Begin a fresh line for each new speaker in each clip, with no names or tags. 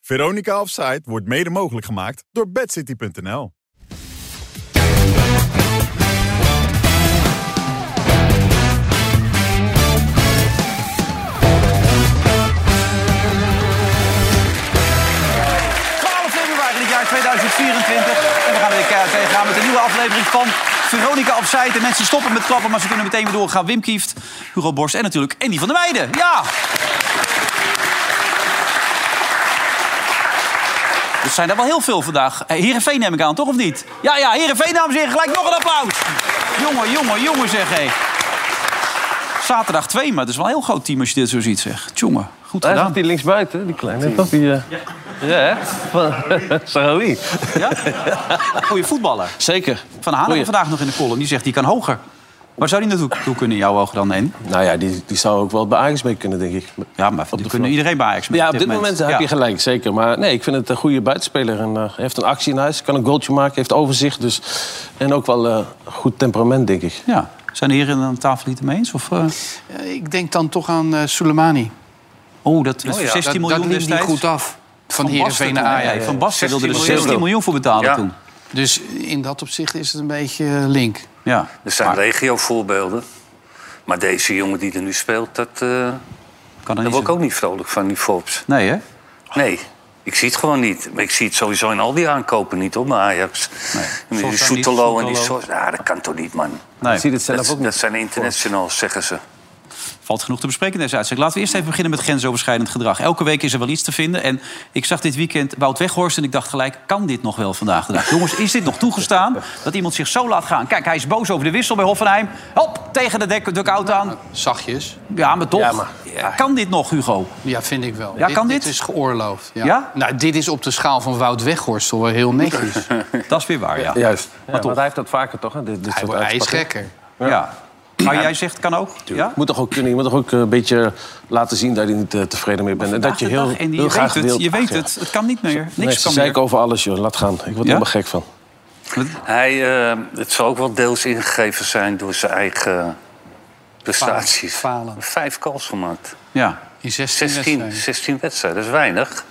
Veronica Offside wordt mede mogelijk gemaakt door bedcity.nl.
februari dit jaar 2024. En we gaan weer keihard tegenaan met een nieuwe aflevering van Veronica Opzij. De mensen stoppen met klappen, maar ze kunnen meteen weer doorgaan. Wim Kieft, Hugo Borst en natuurlijk Andy van der Weijden. Ja! Er zijn er wel heel veel vandaag. Eh, Heerenveen neem ik aan, toch of niet? Ja, ja, Heerenveen, dames en heren. Gelijk nog een applaus. Jongen, jongen, jongen, zeg hé. Zaterdag 2, maar het is wel een heel groot team als je dit zo ziet, zeg. Tjonge, goed
Hij
gedaan.
zat die linksbuiten, die kleine, toch? Die, eh, Ja. hè? Van- eh, Sarawi.
Ja? Goeie voetballer.
Zeker.
Van Hanen
Goeie.
vandaag nog in de column. Die zegt, die kan hoger. Waar zou die naartoe toe kunnen in jouw ogen dan heen?
Nou ja, die, die zou ook wel bij Ajax mee kunnen, denk ik.
Ja, maar die kunnen
vloer.
iedereen bij Ajax mee
Ja, op dit moment, heb je
Ja.
gelijk, zeker. Maar nee, ik vind het een goede buitenspeler. En, eh, heeft een actie in huis, kan een goaltje maken, heeft overzicht. Dus, en ook wel eh, goed temperament, denk ik.
Ja. Zijn de heren aan de tafel niet het mee eens? Of, eh,
Eh, Ik denk dan toch aan eh Soleimani.
Oh, dat is
Oh ja,
16
dat-
miljoen
dat liep
destijds.
niet goed af. Van,
Van Basten,
Heerenveen naar
toen, hè?
Ajax.
Van Basten wilde er
16
16 miljoen, voor betalen
Ja.
toen.
Dus in dat opzicht is het een beetje eh, link.
Ja.
Er zijn
Maar
regiovoorbeelden. Maar deze jongen die er nu speelt, dat, eh,
kan er niet
daar word ik
zo-
ook niet vrolijk van, die Forbes.
Nee, hè?
Nee, ik zie het gewoon niet. Maar ik zie het sowieso in al die aankopen niet, hoor, bij Ajax. En
Sosa
die
niet,
Soetelo en die
Soetelo.
Sosa. Ja, dat kan toch niet, man.
Nee.
Ik zie dit zelf
Dat,
ook niet.
dat zijn internationals, zeggen ze.
Valt genoeg te bespreken in deze uitzending. Laten we eerst even beginnen met grensoverschrijdend gedrag. Elke week is er wel iets te vinden. En ik zag dit weekend Wout Weghorst en ik dacht gelijk... kan dit nog wel vandaag de dag? Jongens, is dit nog toegestaan dat iemand zich zo laat gaan? Kijk, hij is boos over de wissel bij Hoffenheim. Hop, tegen de dek, dugout aan.
Zachtjes.
Ja, maar toch.
Ja, maar-
Kan dit nog, Hugo?
Ja, vind ik wel.
Ja, kan dit?
is geoorloofd. Ja.
Ja?
Nou, dit is op de schaal van Wout Weghorst wel heel netjes.
Dat is weer waar, ja. ja.
Juist. Ja,
toch?
maar hij heeft dat vaker, toch? Hè? Dit, dit
hij,
soort
wordt- hij is
uitspattingen.
gekker.
Maar jij zegt kan ook? Ja?
Je moet toch ook kunnen, je moet toch ook eh, een beetje laten zien dat je niet eh, tevreden mee bent. En dat je heel,
Vandaag de dag, Andy,
heel
je
graag
weet het,
wilt-
je weet
Ach, ja.
het. Het kan niet meer. Niks
Nee, ze
kan meer.
zeiken over alles, joh. Laat gaan. Ik word er helemaal gek van.
Hij, eh, het zal ook wel deels ingegeven zijn door zijn eigen prestaties.
Falen.
Vijf calls gemaakt.
Ja.
In 16,
16,
wedstrijden.
16 wedstrijden, dat is weinig.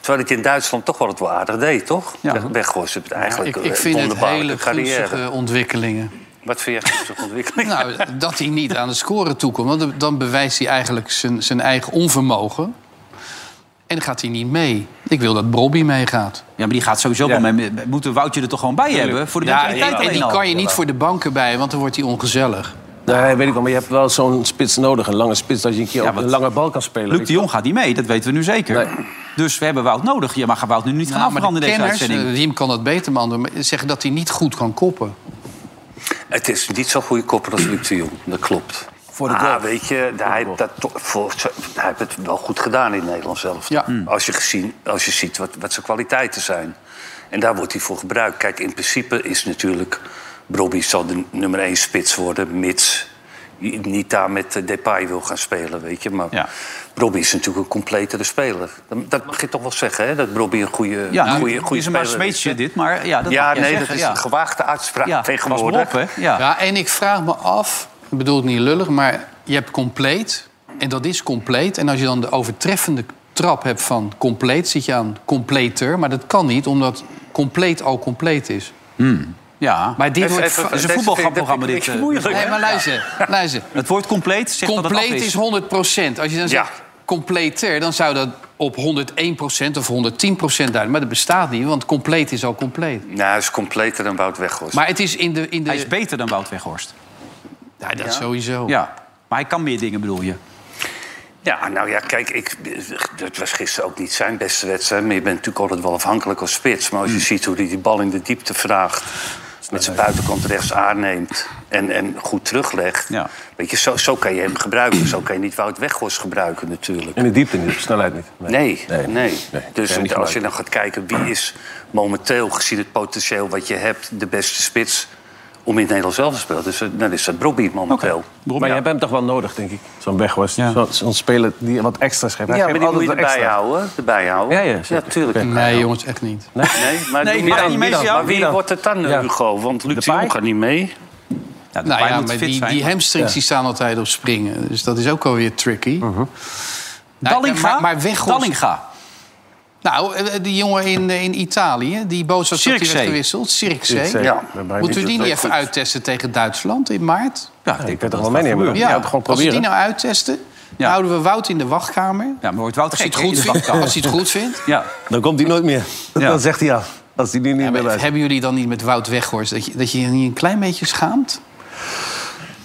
Terwijl het in Duitsland toch wel het wel aardig deed, toch?
Ja.
Ja. Weghorst heeft
Ik,
eigenlijk een
ik vind het
wonderbaarlijke
hele
carrière.
gunstige ontwikkelingen.
Wat vind jij gunstig ontwikkeling?
Nou, dat hij niet aan de score toekomt. Want dan- dan bewijst hij eigenlijk zijn, zijn eigen onvermogen. En gaat hij niet mee. Ik wil dat Bobby meegaat.
ja, maar die gaat sowieso wel mee. We Moeten Woutje er toch gewoon bij hebben? Voor de mentaliteit
en, en die
alleen al.
kan je niet voor de banken bij, want dan wordt hij ongezellig.
Nee, weet ik wel. Maar je hebt wel zo'n spits nodig. Een lange spits, dat je een keer
Ja,
op
want
een lange bal kan spelen.
Luc de Jong gaat niet mee, dat weten we nu zeker.
Nee.
Dus we hebben Wout nodig. Je mag Wout nu niet gaan
Nou, maar de
afbranden in deze
kenners,
uitzending.
eh, Riem kan dat beter, man. maar Zeggen dat hij niet goed kan koppen.
Het is niet zo'n goede kopper als Luc de Jong, dat klopt. Voor de ah, weet je, hij, heeft dat, to- voor, hij heeft het wel goed gedaan in Nederland zelf.
Ja. Hmm.
Als, je gezien, als je ziet wat, wat zijn kwaliteiten zijn. En daar wordt hij voor gebruikt. Kijk, in principe is natuurlijk... Robbie zal de nummer één spits worden, mits je niet daar met eh, Depay wil gaan spelen, weet je. Maar
Ja.
Robbie is natuurlijk een completere speler. Dat, dat begint toch wel zeggen, hè? Dat Robbie een goede,
Ja,
een
nou,
goede,
het
goede
is een maar
speler
smeetje dit, maar ja, dat
Ja,
mag jij
nee,
zeggen,
dat is
ja.
een gewaagde uitspraak
ja,
tegenwoordig.
Pas maar op, hè? Ja.
Ja, en ik vraag me af, ik bedoel het niet lullig, maar je hebt compleet. En dat is compleet. En als je dan de overtreffende trap hebt van compleet, zit je aan completer. Maar dat kan niet, omdat compleet al compleet is.
Ja.
Maar dit
Even-
wordt...
even-
va-
Het is een
Deze
voetbalprogramma
vind
dit.
ik
eh,
moeilijk.
Nee, maar luister, luister.
Het woord compleet zegt dat het af
Compleet
is.
is 100 Als je dan
Ja.
zegt completer, dan zou dat op 101 of 110 duiden. Maar dat bestaat niet, want compleet is al compleet.
Nou, hij is completer dan Wout Weghorst.
Maar het is in de... In de
Hij is beter dan Wout Weghorst.
Ja, dat sowieso.
Ja. Maar hij kan meer dingen, bedoel je?
Ja, nou ja, kijk, ik, dat was gisteren ook niet zijn beste wedstrijd. Maar je bent natuurlijk altijd wel afhankelijk als spits. Maar als
Mm.
je ziet hoe hij die bal in de diepte vraagt... met zijn buitenkant rechts aanneemt en, en goed teruglegt...
Ja.
Weet je, zo, zo kan je hem gebruiken. Zo kan je niet Wout Weghorst gebruiken natuurlijk.
In de diepte niet, op snelheid niet.
Nee, nee.
nee.
Dus
Kan je niet
als je
gebruiken.
dan gaat kijken wie is momenteel, gezien het potentieel wat je hebt, de beste spits om in het Nederlands zelf te spelen. Dus eh, dan is dat Robbie momenteel.
Maar je hebt hem toch wel nodig, denk ik. Zo'n Weghorst.
Ja.
Zo- Zo'n speler die wat extra's geeft. Hij
Ja,
geeft
maar die moet je
altijd wat
erbij
extra's.
houden. Erbij houden.
Ja, ja, zeker.
tuurlijk.
Nee, jongens, echt niet.
Nee, maar,
Nee,
doe
maar
maar,
niet mee,
maar
Jan.
wie
dan?
wordt het dan,
Ja.
Hugo? Want Luc de
Depay?
Jong gaat niet mee.
Ja,
Nou ja,
moet
maar
fit
die,
zijn.
die hamstrings die staan altijd op springen. Dus dat is ook alweer tricky. Nou,
Mhm. Dallinga?
Maar, maar Weghorst,
Dallinga.
Nou, eh, die jongen in, eh, in Italië, die boodschap dat hij
Cirkzee.
werd gewisseld. Cirkzee.
Ja.
Moet u die niet even uittesten tegen Duitsland in maart?
Ja, ik denk
Ik weet
dat
het
dat
wel
gaat
meenemen.
gebeuren.
Ja,
Ja.
het gewoon
als we die
proberen.
nou uittesten,
Ja.
dan houden we Wout in de wachtkamer.
ja, maar wordt Wout
Als hij
gek,
het
hè, in
goed
de
vindt.
wachtkamer.
Als hij het goed vindt.
Ja,
Dan komt hij nooit meer.
Ja.
Dan zegt hij af. Als hij die niet
Ja,
meer
maar
luistert.
hebben jullie dan niet met Wout Weghorst dat je, dat je je niet een klein beetje schaamt?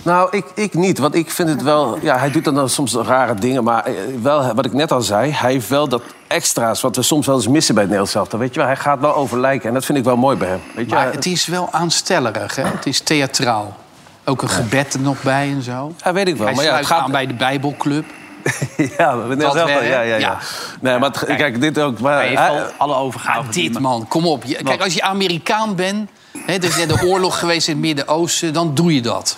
Nou, ik, ik niet. Want ik vind het wel... Ja, hij doet dan wel soms rare dingen. Maar eh, wel, wat ik net al zei... Hij heeft wel dat extra's wat we soms wel eens missen bij het Nederlands elftal. Weet je wel, hij gaat wel over lijken. En dat vind ik wel mooi bij hem. Weet je,
Maar
hij-
het is wel aanstellerig, hè? Het is theatraal. Ook een gebed er nog bij en zo.
Ja, weet ik wel.
Hij
Maar ja, het
sluit
gaat...
aan bij de Bijbelclub.
Ja, met Nederlands
Dat
elftal.
wel,
Ja, ja,
hè?
ja.
Ja.
Nee, maar het- kijk, dit ook... Maar,
hij heeft
hij-
al alle
Ah,
overgaven. die
dit
maar-
man, kom op. Je- Kijk, als je Amerikaan bent, hè, er is net een oorlog geweest in het Midden-Oosten, dan doe je dat.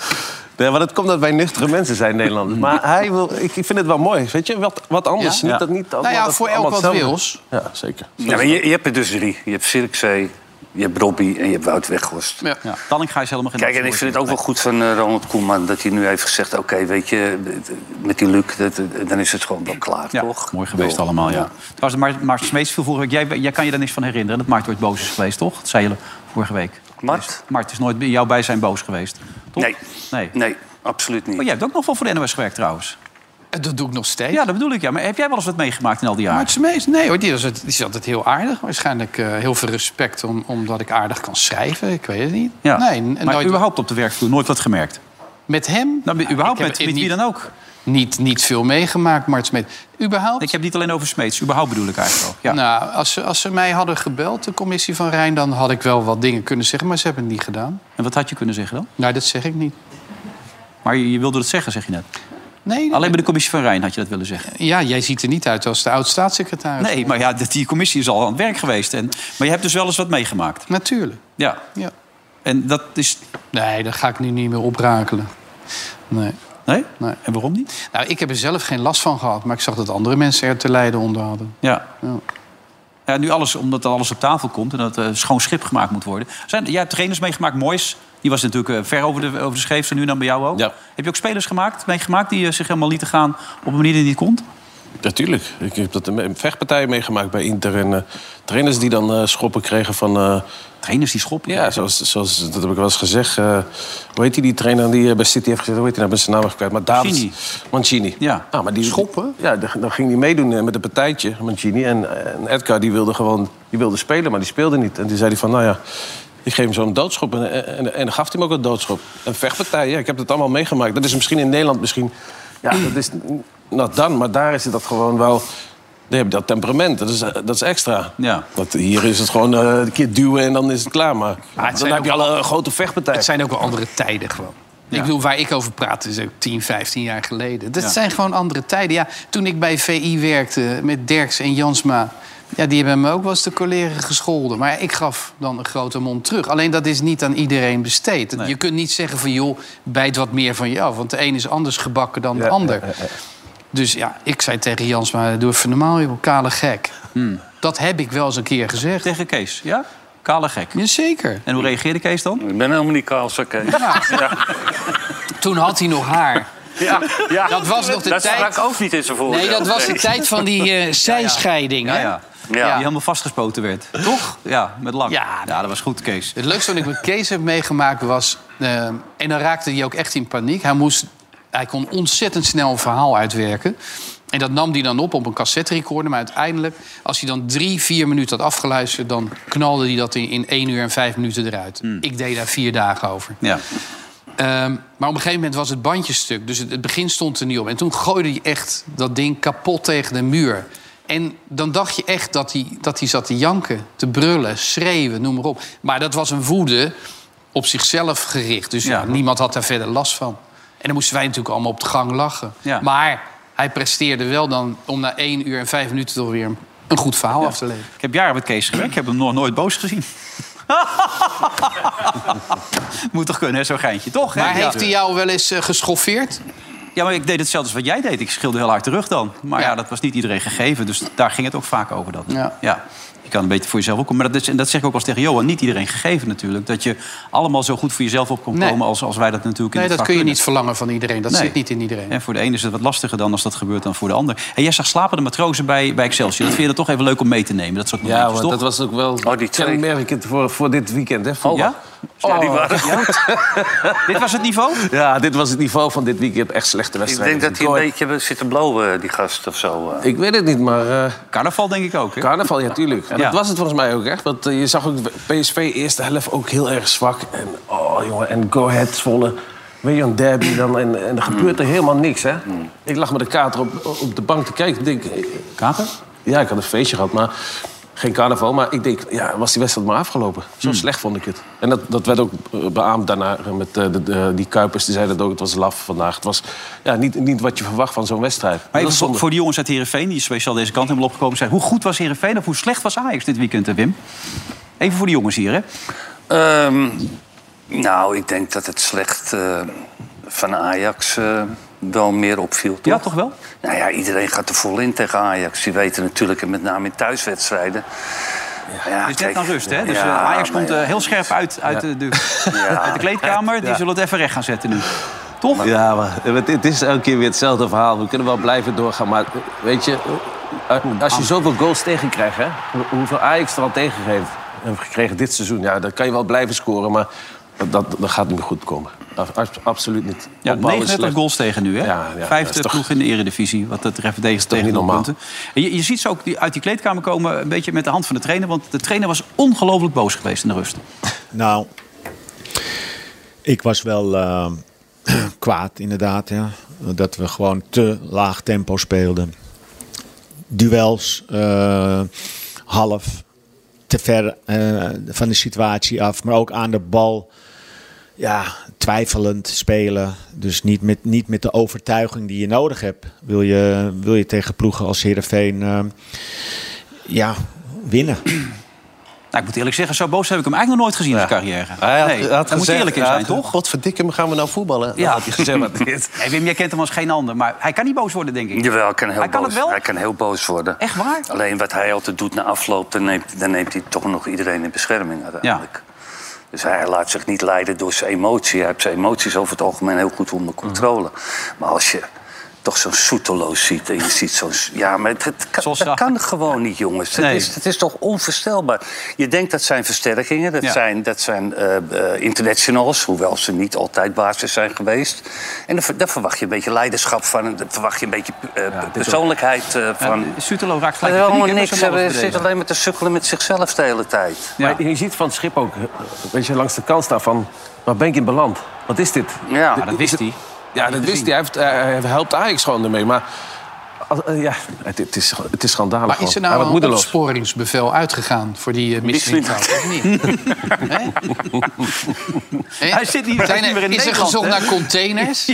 Nee, want het komt dat wij nuchtere mensen zijn in Nederland. Maar hij wil, ik, ik vind het wel mooi. Weet je, wat, wat anders.
Ja?
Niet
Ja.
dat, niet allemaal
nou ja,
dat
voor elk
allemaal
wat
hetzelfde.
wils.
Ja, zeker.
Ja, maar je, je hebt er dus drie. Je hebt Cirkzee, je hebt Robbie en je hebt Wout Weghorst.
Ja.
Ja, Dallinga is helemaal geen
Kijk, en ik vind het ook wel goed van eh, Ronald Koeman... dat hij nu heeft gezegd, oké, weet je, eh, met die Luc... dat- eh, dan is het gewoon wel klaar,
Ja,
toch?
mooi geweest allemaal, ja. Trouwens, maar, maar Smeets viel vorige week... Jij, jij kan je daar niks van herinneren. Dat Mart ooit boos is geweest, toch? Dat zei je vorige week.
Mart?
Mart is nooit bij jou bij zijn boos geweest, toch?
Nee.
nee.
Nee, absoluut niet.
Oh,
Maar jij hebt ook nog wel voor de NOS gewerkt, trouwens.
En Dat doe ik nog steeds.
Ja, dat bedoel ik, ja. Maar heb jij wel eens wat meegemaakt in al die jaren?
Maar het is meest- nee hoor, die, was, het- die is altijd heel aardig. Waarschijnlijk eh, heel veel respect om, omdat ik aardig kan schrijven. Ik weet het niet.
Ja.
Nee, en
maar
nooit-
überhaupt op de werkvloer nooit wat gemerkt?
met hem
Nou,
Nou,
überhaupt
ik heb
met,
het
met wie
niet-
dan ook?
niet, niet veel meegemaakt, Mart Smeet. Überhaupt,
Ik heb niet alleen over Smeets. Überhaupt bedoel ik eigenlijk ook. Ja.
nou, als, ze, als ze mij hadden gebeld, de commissie van Rijn... dan had ik wel wat dingen kunnen zeggen, maar ze hebben het niet gedaan.
En wat had je kunnen zeggen dan?
Nou, dat zeg ik niet.
Maar je, je wilde het zeggen, zeg je net.
Nee,
Alleen bij de commissie van Rijn had je dat willen zeggen.
Ja, jij ziet er niet uit als de oud-staatssecretaris.
Nee, maar ja, dat- die commissie is al aan het werk geweest. En, maar je hebt dus wel eens wat meegemaakt.
Natuurlijk,
Ja.
ja.
En dat is...
Nee, dat ga ik nu niet meer oprakelen. Nee.
Nee?
Nee.
En waarom niet?
Nou, ik heb er zelf geen last van gehad, maar ik zag dat andere mensen er te lijden onder hadden.
Ja.
Ja.
ja nu alles, omdat er alles op tafel komt en dat eh schoon schip gemaakt moet worden. Zijn, jij hebt trainers meegemaakt. Moois, die was natuurlijk eh, ver over de, over de scheef. En nu dan bij jou ook.
Ja.
Heb je ook spelers gemaakt, meegemaakt die eh, zich helemaal lieten gaan op een manier die niet kon?
Natuurlijk. ik heb dat een vechtpartij meegemaakt bij Inter. En eh, trainers die dan eh, schoppen kregen van... eh,
Trainers die schoppen.
ja, zoals, zoals, dat heb ik wel eens gezegd. eh, hoe heet die, die trainer die eh, bij City heeft gezeten? Hoe heet hij nou? Ik ben zijn naam even kwijt. Maar David
Mancini.
Mancini. Mancini.
Ja.
Nou, maar die,
Schoppen?
Ja, dan dan ging hij meedoen eh, met een partijtje, Mancini. En, eh, en Edgar die wilde gewoon die wilde spelen, maar die speelde niet. En toen zei hij van, nou ja, ik geef hem zo'n doodschop. En, en, en, dan gaf hij hem ook een doodschop. Een vechtpartij, ja, ik heb dat allemaal meegemaakt. Dat is misschien in Nederland misschien... Ja, dat is not dan, maar daar is het dat gewoon wel... Dan heb je dat temperament, dat is, eh, dat is extra.
Ja.
Dat, hier is het gewoon eh, een keer duwen en dan is het klaar. Maar dan
zijn
heb je
ook
al een grote vechtpartij.
Het zijn ook wel andere tijden gewoon. Ik bedoel, waar ik over praat is ook 10, 15 jaar geleden. Dat
Ja.
zijn gewoon andere tijden. Ja, toen ik bij VI werkte met Derks en Jansma... Ja, die hebben me ook wel eens de collega gescholden. Maar ik gaf dan een grote mond terug. Alleen dat is niet aan iedereen besteed. Je kunt niet zeggen van, joh, bijt wat meer van je af. Want de een is anders gebakken dan de ander. Dus ja, ik zei tegen Jansma, doe even normaal, joh, kale gek. Dat heb ik wel eens een keer gezegd.
Tegen Kees, ja? Kale gek.
Jazeker.
En hoe reageerde Kees dan?
Ik ben helemaal niet kaal, zo Kees.
Toen had hij nog haar.
Ja, ja.
Dat was nog de
dat
tijd-
sprak ook niet in zijn
Oh,
voordeel.
Nee, dat was de tijd van die eh, zijscheiding.
Ja,
hè?
ja.
Ja.
Die helemaal vastgespoten werd. Toch? Ja, met lang.
Ja.
dat was goed, Kees.
Het leukste wat ik met Kees heb meegemaakt was... eh, en dan raakte hij ook echt in paniek. Hij, moest, hij kon ontzettend snel een verhaal uitwerken. En dat nam hij dan op op een cassette recorder. Maar uiteindelijk, als hij dan drie, vier minuten had afgeluisterd... dan knalde hij dat in, in één uur en vijf minuten eruit.
Hmm.
Ik deed daar vier dagen over.
Ja.
Ehm, maar op een gegeven moment was het bandje stuk. Dus het, het begin stond er niet op. En toen gooide hij echt dat ding kapot tegen de muur. En dan dacht je echt dat hij, dat hij zat te janken, te brullen, schreeuwen, noem maar op. Maar dat was een woede op zichzelf gericht. Dus ja,
Ja.
niemand had daar verder last van. En dan moesten wij natuurlijk allemaal op de gang lachen.
Ja.
Maar hij presteerde wel dan om na één uur en vijf minuten toch weer een- een goed verhaal af te leveren.
Ik heb jaren met Kees gewerkt. Ik heb hem nog nooit boos gezien. Moet toch kunnen, hè, zo'n geintje, toch? hè?
Maar
ja.
heeft hij jou wel eens eh, geschoffeerd?
ja, maar ik deed hetzelfde als wat jij deed. Ik schilde heel hard terug dan. Maar ja.
Ja.
dat was niet iedereen gegeven. Dus daar ging het ook vaak over. Dat.
Ja.
ja. Je kan een beetje voor jezelf opkomen. Maar dat, is, en dat zeg ik ook als tegen Johan. Niet iedereen gegeven natuurlijk. Dat je allemaal zo goed voor jezelf op kan
Nee.
komen als, als wij dat natuurlijk in
Nee,
het
dat
vak
kun je
kunnen.
niet verlangen van iedereen. Dat
Nee.
zit niet in iedereen.
En voor de ene is het wat lastiger dan als dat gebeurt dan voor de ander. En jij zag slapende matrozen bij, bij Excelsior. Dat vind je dan toch even leuk om mee te nemen. Dat soort
Ja,
momentjes,
want
toch?
dat was ook wel
Oh, die twee.
kenmerkend voor, voor dit weekend. Hè, voor-
ja?
Ja,
Oh.
die waren goed.
Dit was het niveau?
ja, dit was het niveau van dit weekend. Echt slechte
Ik
wedstrijden.
denk dat hij een beetje hebben zitten blowen, die gast of zo. eh.
Ik weet het niet, maar eh,
Carnaval denk ik ook. Hè?
carnaval, ja, tuurlijk. En
Ja.
dat was het volgens mij ook echt. Want eh, je zag ook PSV eerste helft ook heel erg zwak. En, oh, jongen, en Go Ahead Zwolle. Weet je, een derby dan. En, en er gebeurt er helemaal niks, hè.
Hmm.
Ik lag met de kater op, op de bank te kijken. Ik denk, eh,
Kater?
Ja, ik had een feestje gehad, maar geen carnaval. Maar ik denk, ja, was die wedstrijd maar afgelopen. Zo
Hmm.
slecht vond ik het. En dat, dat werd ook eh, beaamd daarna eh, met eh, de, de- die Kuipers. Die zeiden dat ook, het was laf vandaag. Het was ja, niet, niet wat je verwacht van zo'n wedstrijd.
Maar
Dat
even
is
voor,
zonde.
voor die jongens uit Heerenveen, die speciaal deze kant hebben opgekomen... Zijn, hoe goed was Heerenveen of hoe slecht was Ajax dit weekend, hè, Wim? Even voor die jongens hier, hè? Dus
Ehm, nou, ik denk dat het slecht eh, van Ajax eh, wel meer opviel. Toch?
Ja, toch wel?
Nou ja, iedereen gaat er vol in tegen Ajax. Die weten natuurlijk, en met name in thuiswedstrijden.
Het
Ja,
is net
kijk,
aan rust, hè? Dus
ja,
eh, Ajax
maar
komt
ja,
eh, heel scherp uit, uit, eh, de, uit de kleedkamer. Die zullen het even recht gaan zetten nu. Toch?
Ja, maar het, het is elke keer weer hetzelfde verhaal. We kunnen wel blijven doorgaan, maar weet je... eh,
Als je zoveel goals tegenkrijgt, hè, hoe- hoeveel Ajax er al tegengeeft... hebben gekregen dit seizoen, ja, dan kan je wel blijven scoren. Maar dat, dat, dat gaat niet meer goed komen. Ab- ab- absoluut niet.
Ja,
Opbouw is
39
slecht.
goals tegen nu, hè?
Ja, ja, dat
Vijfde
is toch-
ploeg in de eredivisie, wat dat betreft deze
niet
tegen de
normaal?
punten. En je, je ziet ze ook die, uit die kleedkamer komen een beetje met de hand van de trainer... want de trainer was ongelooflijk boos geweest in de rust.
Nou, ik was wel ehm, kwaad inderdaad. Ja. Dat we gewoon te laag tempo speelden. Duels, eh, half, te ver eh, van de situatie af. Maar ook aan de bal, ja, twijfelend spelen. Dus niet met, niet met de overtuiging die je nodig hebt. Wil je, wil je tegen ploegen als Heerenveen ehm, ja, winnen.
Nou, ik moet eerlijk zeggen, zo boos heb ik hem eigenlijk nog nooit gezien in zijn carrière.
Hij had,
nee,
had
daar
gezegd,
moet je eerlijk in
hij
zijn,
had-
toch?
Godverdikke, gaan we nou voetballen?
Ja.
Ja. had hij gezegd, maar dit...
Nee, Wim, jij kent hem als geen ander, maar hij kan niet boos worden, denk ik.
Jawel, hij kan, heel
Hij kan
boos,
het wel?
hij kan heel boos worden.
Echt waar?
Alleen wat hij altijd doet na afloop, dan neemt, dan neemt hij toch nog iedereen in bescherming uiteindelijk. Dus hij laat zich niet leiden door zijn emotie. Hij heeft zijn emoties over het algemeen heel goed onder
Mhm.
controle. Maar als je toch zo'n soeteloos ziet en je ziet zo'n... Ja, maar het, het kan,
Zoals
dat
dat-
kan gewoon niet, jongens. Het,
Nee.
is, het is toch onvoorstelbaar. Je denkt dat zijn versterkingen, dat
Ja.
zijn, dat zijn eh, eh, internationals... hoewel ze niet altijd basis zijn geweest. En daar, ver- daar verwacht je een beetje leiderschap van. en Daar verwacht je een beetje eh, persoonlijkheid eh, van.
Ja, Sutelo raakt
Maar
gelijk in
helemaal
paniek, hè, met
niks. eh,
zo'n
Hij
ballenverdediging.
zit alleen maar te sukkelen met zichzelf de hele tijd.
Ja.
Maar je ziet van het schip ook, eh, weet je, langs de kant staan van... waar ben ik in beland? Wat is dit?
Ja,
Maar dat wist hij.
Ja, dat wist hij. Hij, heeft, eh, hij helpt Ajax gewoon ermee. Maar als- eh, ja, het, het, is, het is schandalig.
Maar is er
gewoon.
nou
Hij wordt
een
moedeloos.
opsporingsbevel uitgegaan voor die uh, misselingtrouw, of niet? Hè? Hè?
Hij zit niet- hij
Zijn
is niet meer in
Is er
Nederland,
gezocht
hè?
naar containers?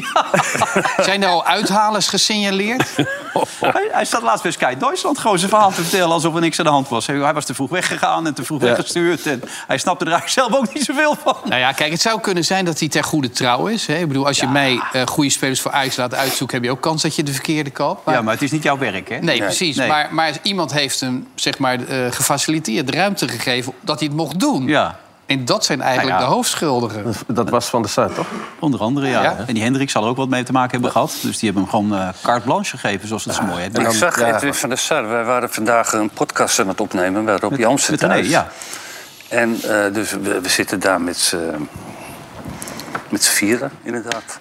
Zijn er al uithalers gesignaleerd?
Hij, hij zat laatst bij Sky Duitsland gewoon zijn verhaal te vertellen alsof er niks aan de hand was. Hij was te vroeg weggegaan en te vroeg weggestuurd. En hij snapte er eigenlijk zelf ook niet zoveel van.
Nou ja, kijk, het zou kunnen zijn dat hij ter goede trouw is. Hè? Ik bedoel, als je mij eh, goede spelers voor Ajax laat uitzoeken... heb je ook kans dat je de verkeerde koopt. Maar
Ja, maar het is niet jouw werk, hè?
Nee, precies.
Nee.
Maar, maar iemand heeft hem zeg maar, eh, gefaciliteerd, ruimte gegeven dat hij het mocht doen.
Ja,
En dat zijn eigenlijk
Nou ja.
de hoofdschuldigen.
Dat was van de Sar, toch?
onder andere, ja.
Ja.
En die Hendrik zal er ook wat mee te maken hebben gehad. Dus die hebben hem gewoon eh, carte blanche gegeven, zoals dat zo mooi heet.
Ik
Met-
zag
ja.
Edwin van der Sar. Wij waren vandaag een podcast aan het opnemen bij Rob Jansen
met René,
thuis.
ja.
En eh, dus we, we zitten daar met z'n... Met z'n vieren, inderdaad.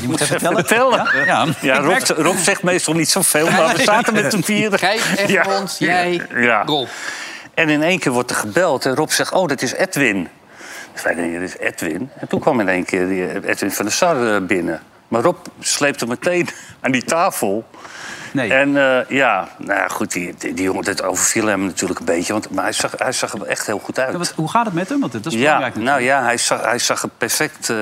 Je moet even vertellen.
vertellen.
Ja, ja.
Ja,
Ik merk-
Rob, Rob zegt meestal niet zoveel, maar we zaten met z'n vieren.
Gij, Egmond,
Ja.
jij,
Ja.
Rob.
En in één keer wordt er gebeld en Rob zegt, oh, dat is Edwin. Dus wij denken, dit is Edwin. En toen kwam in één keer die Edwin van der Sar eh, binnen. Maar Rob sleepte meteen aan die tafel.
Nee.
En eh, ja, nou ja, goed, die, die, die jongen, dat overviel hem natuurlijk een beetje. Want, maar hij zag, hij zag er echt heel goed uit.
Ja, wat- hoe gaat het met hem? Want dat is
Ja,
belangrijk
nou
natuurlijk.
ja, hij zag, hij zag er perfect eh,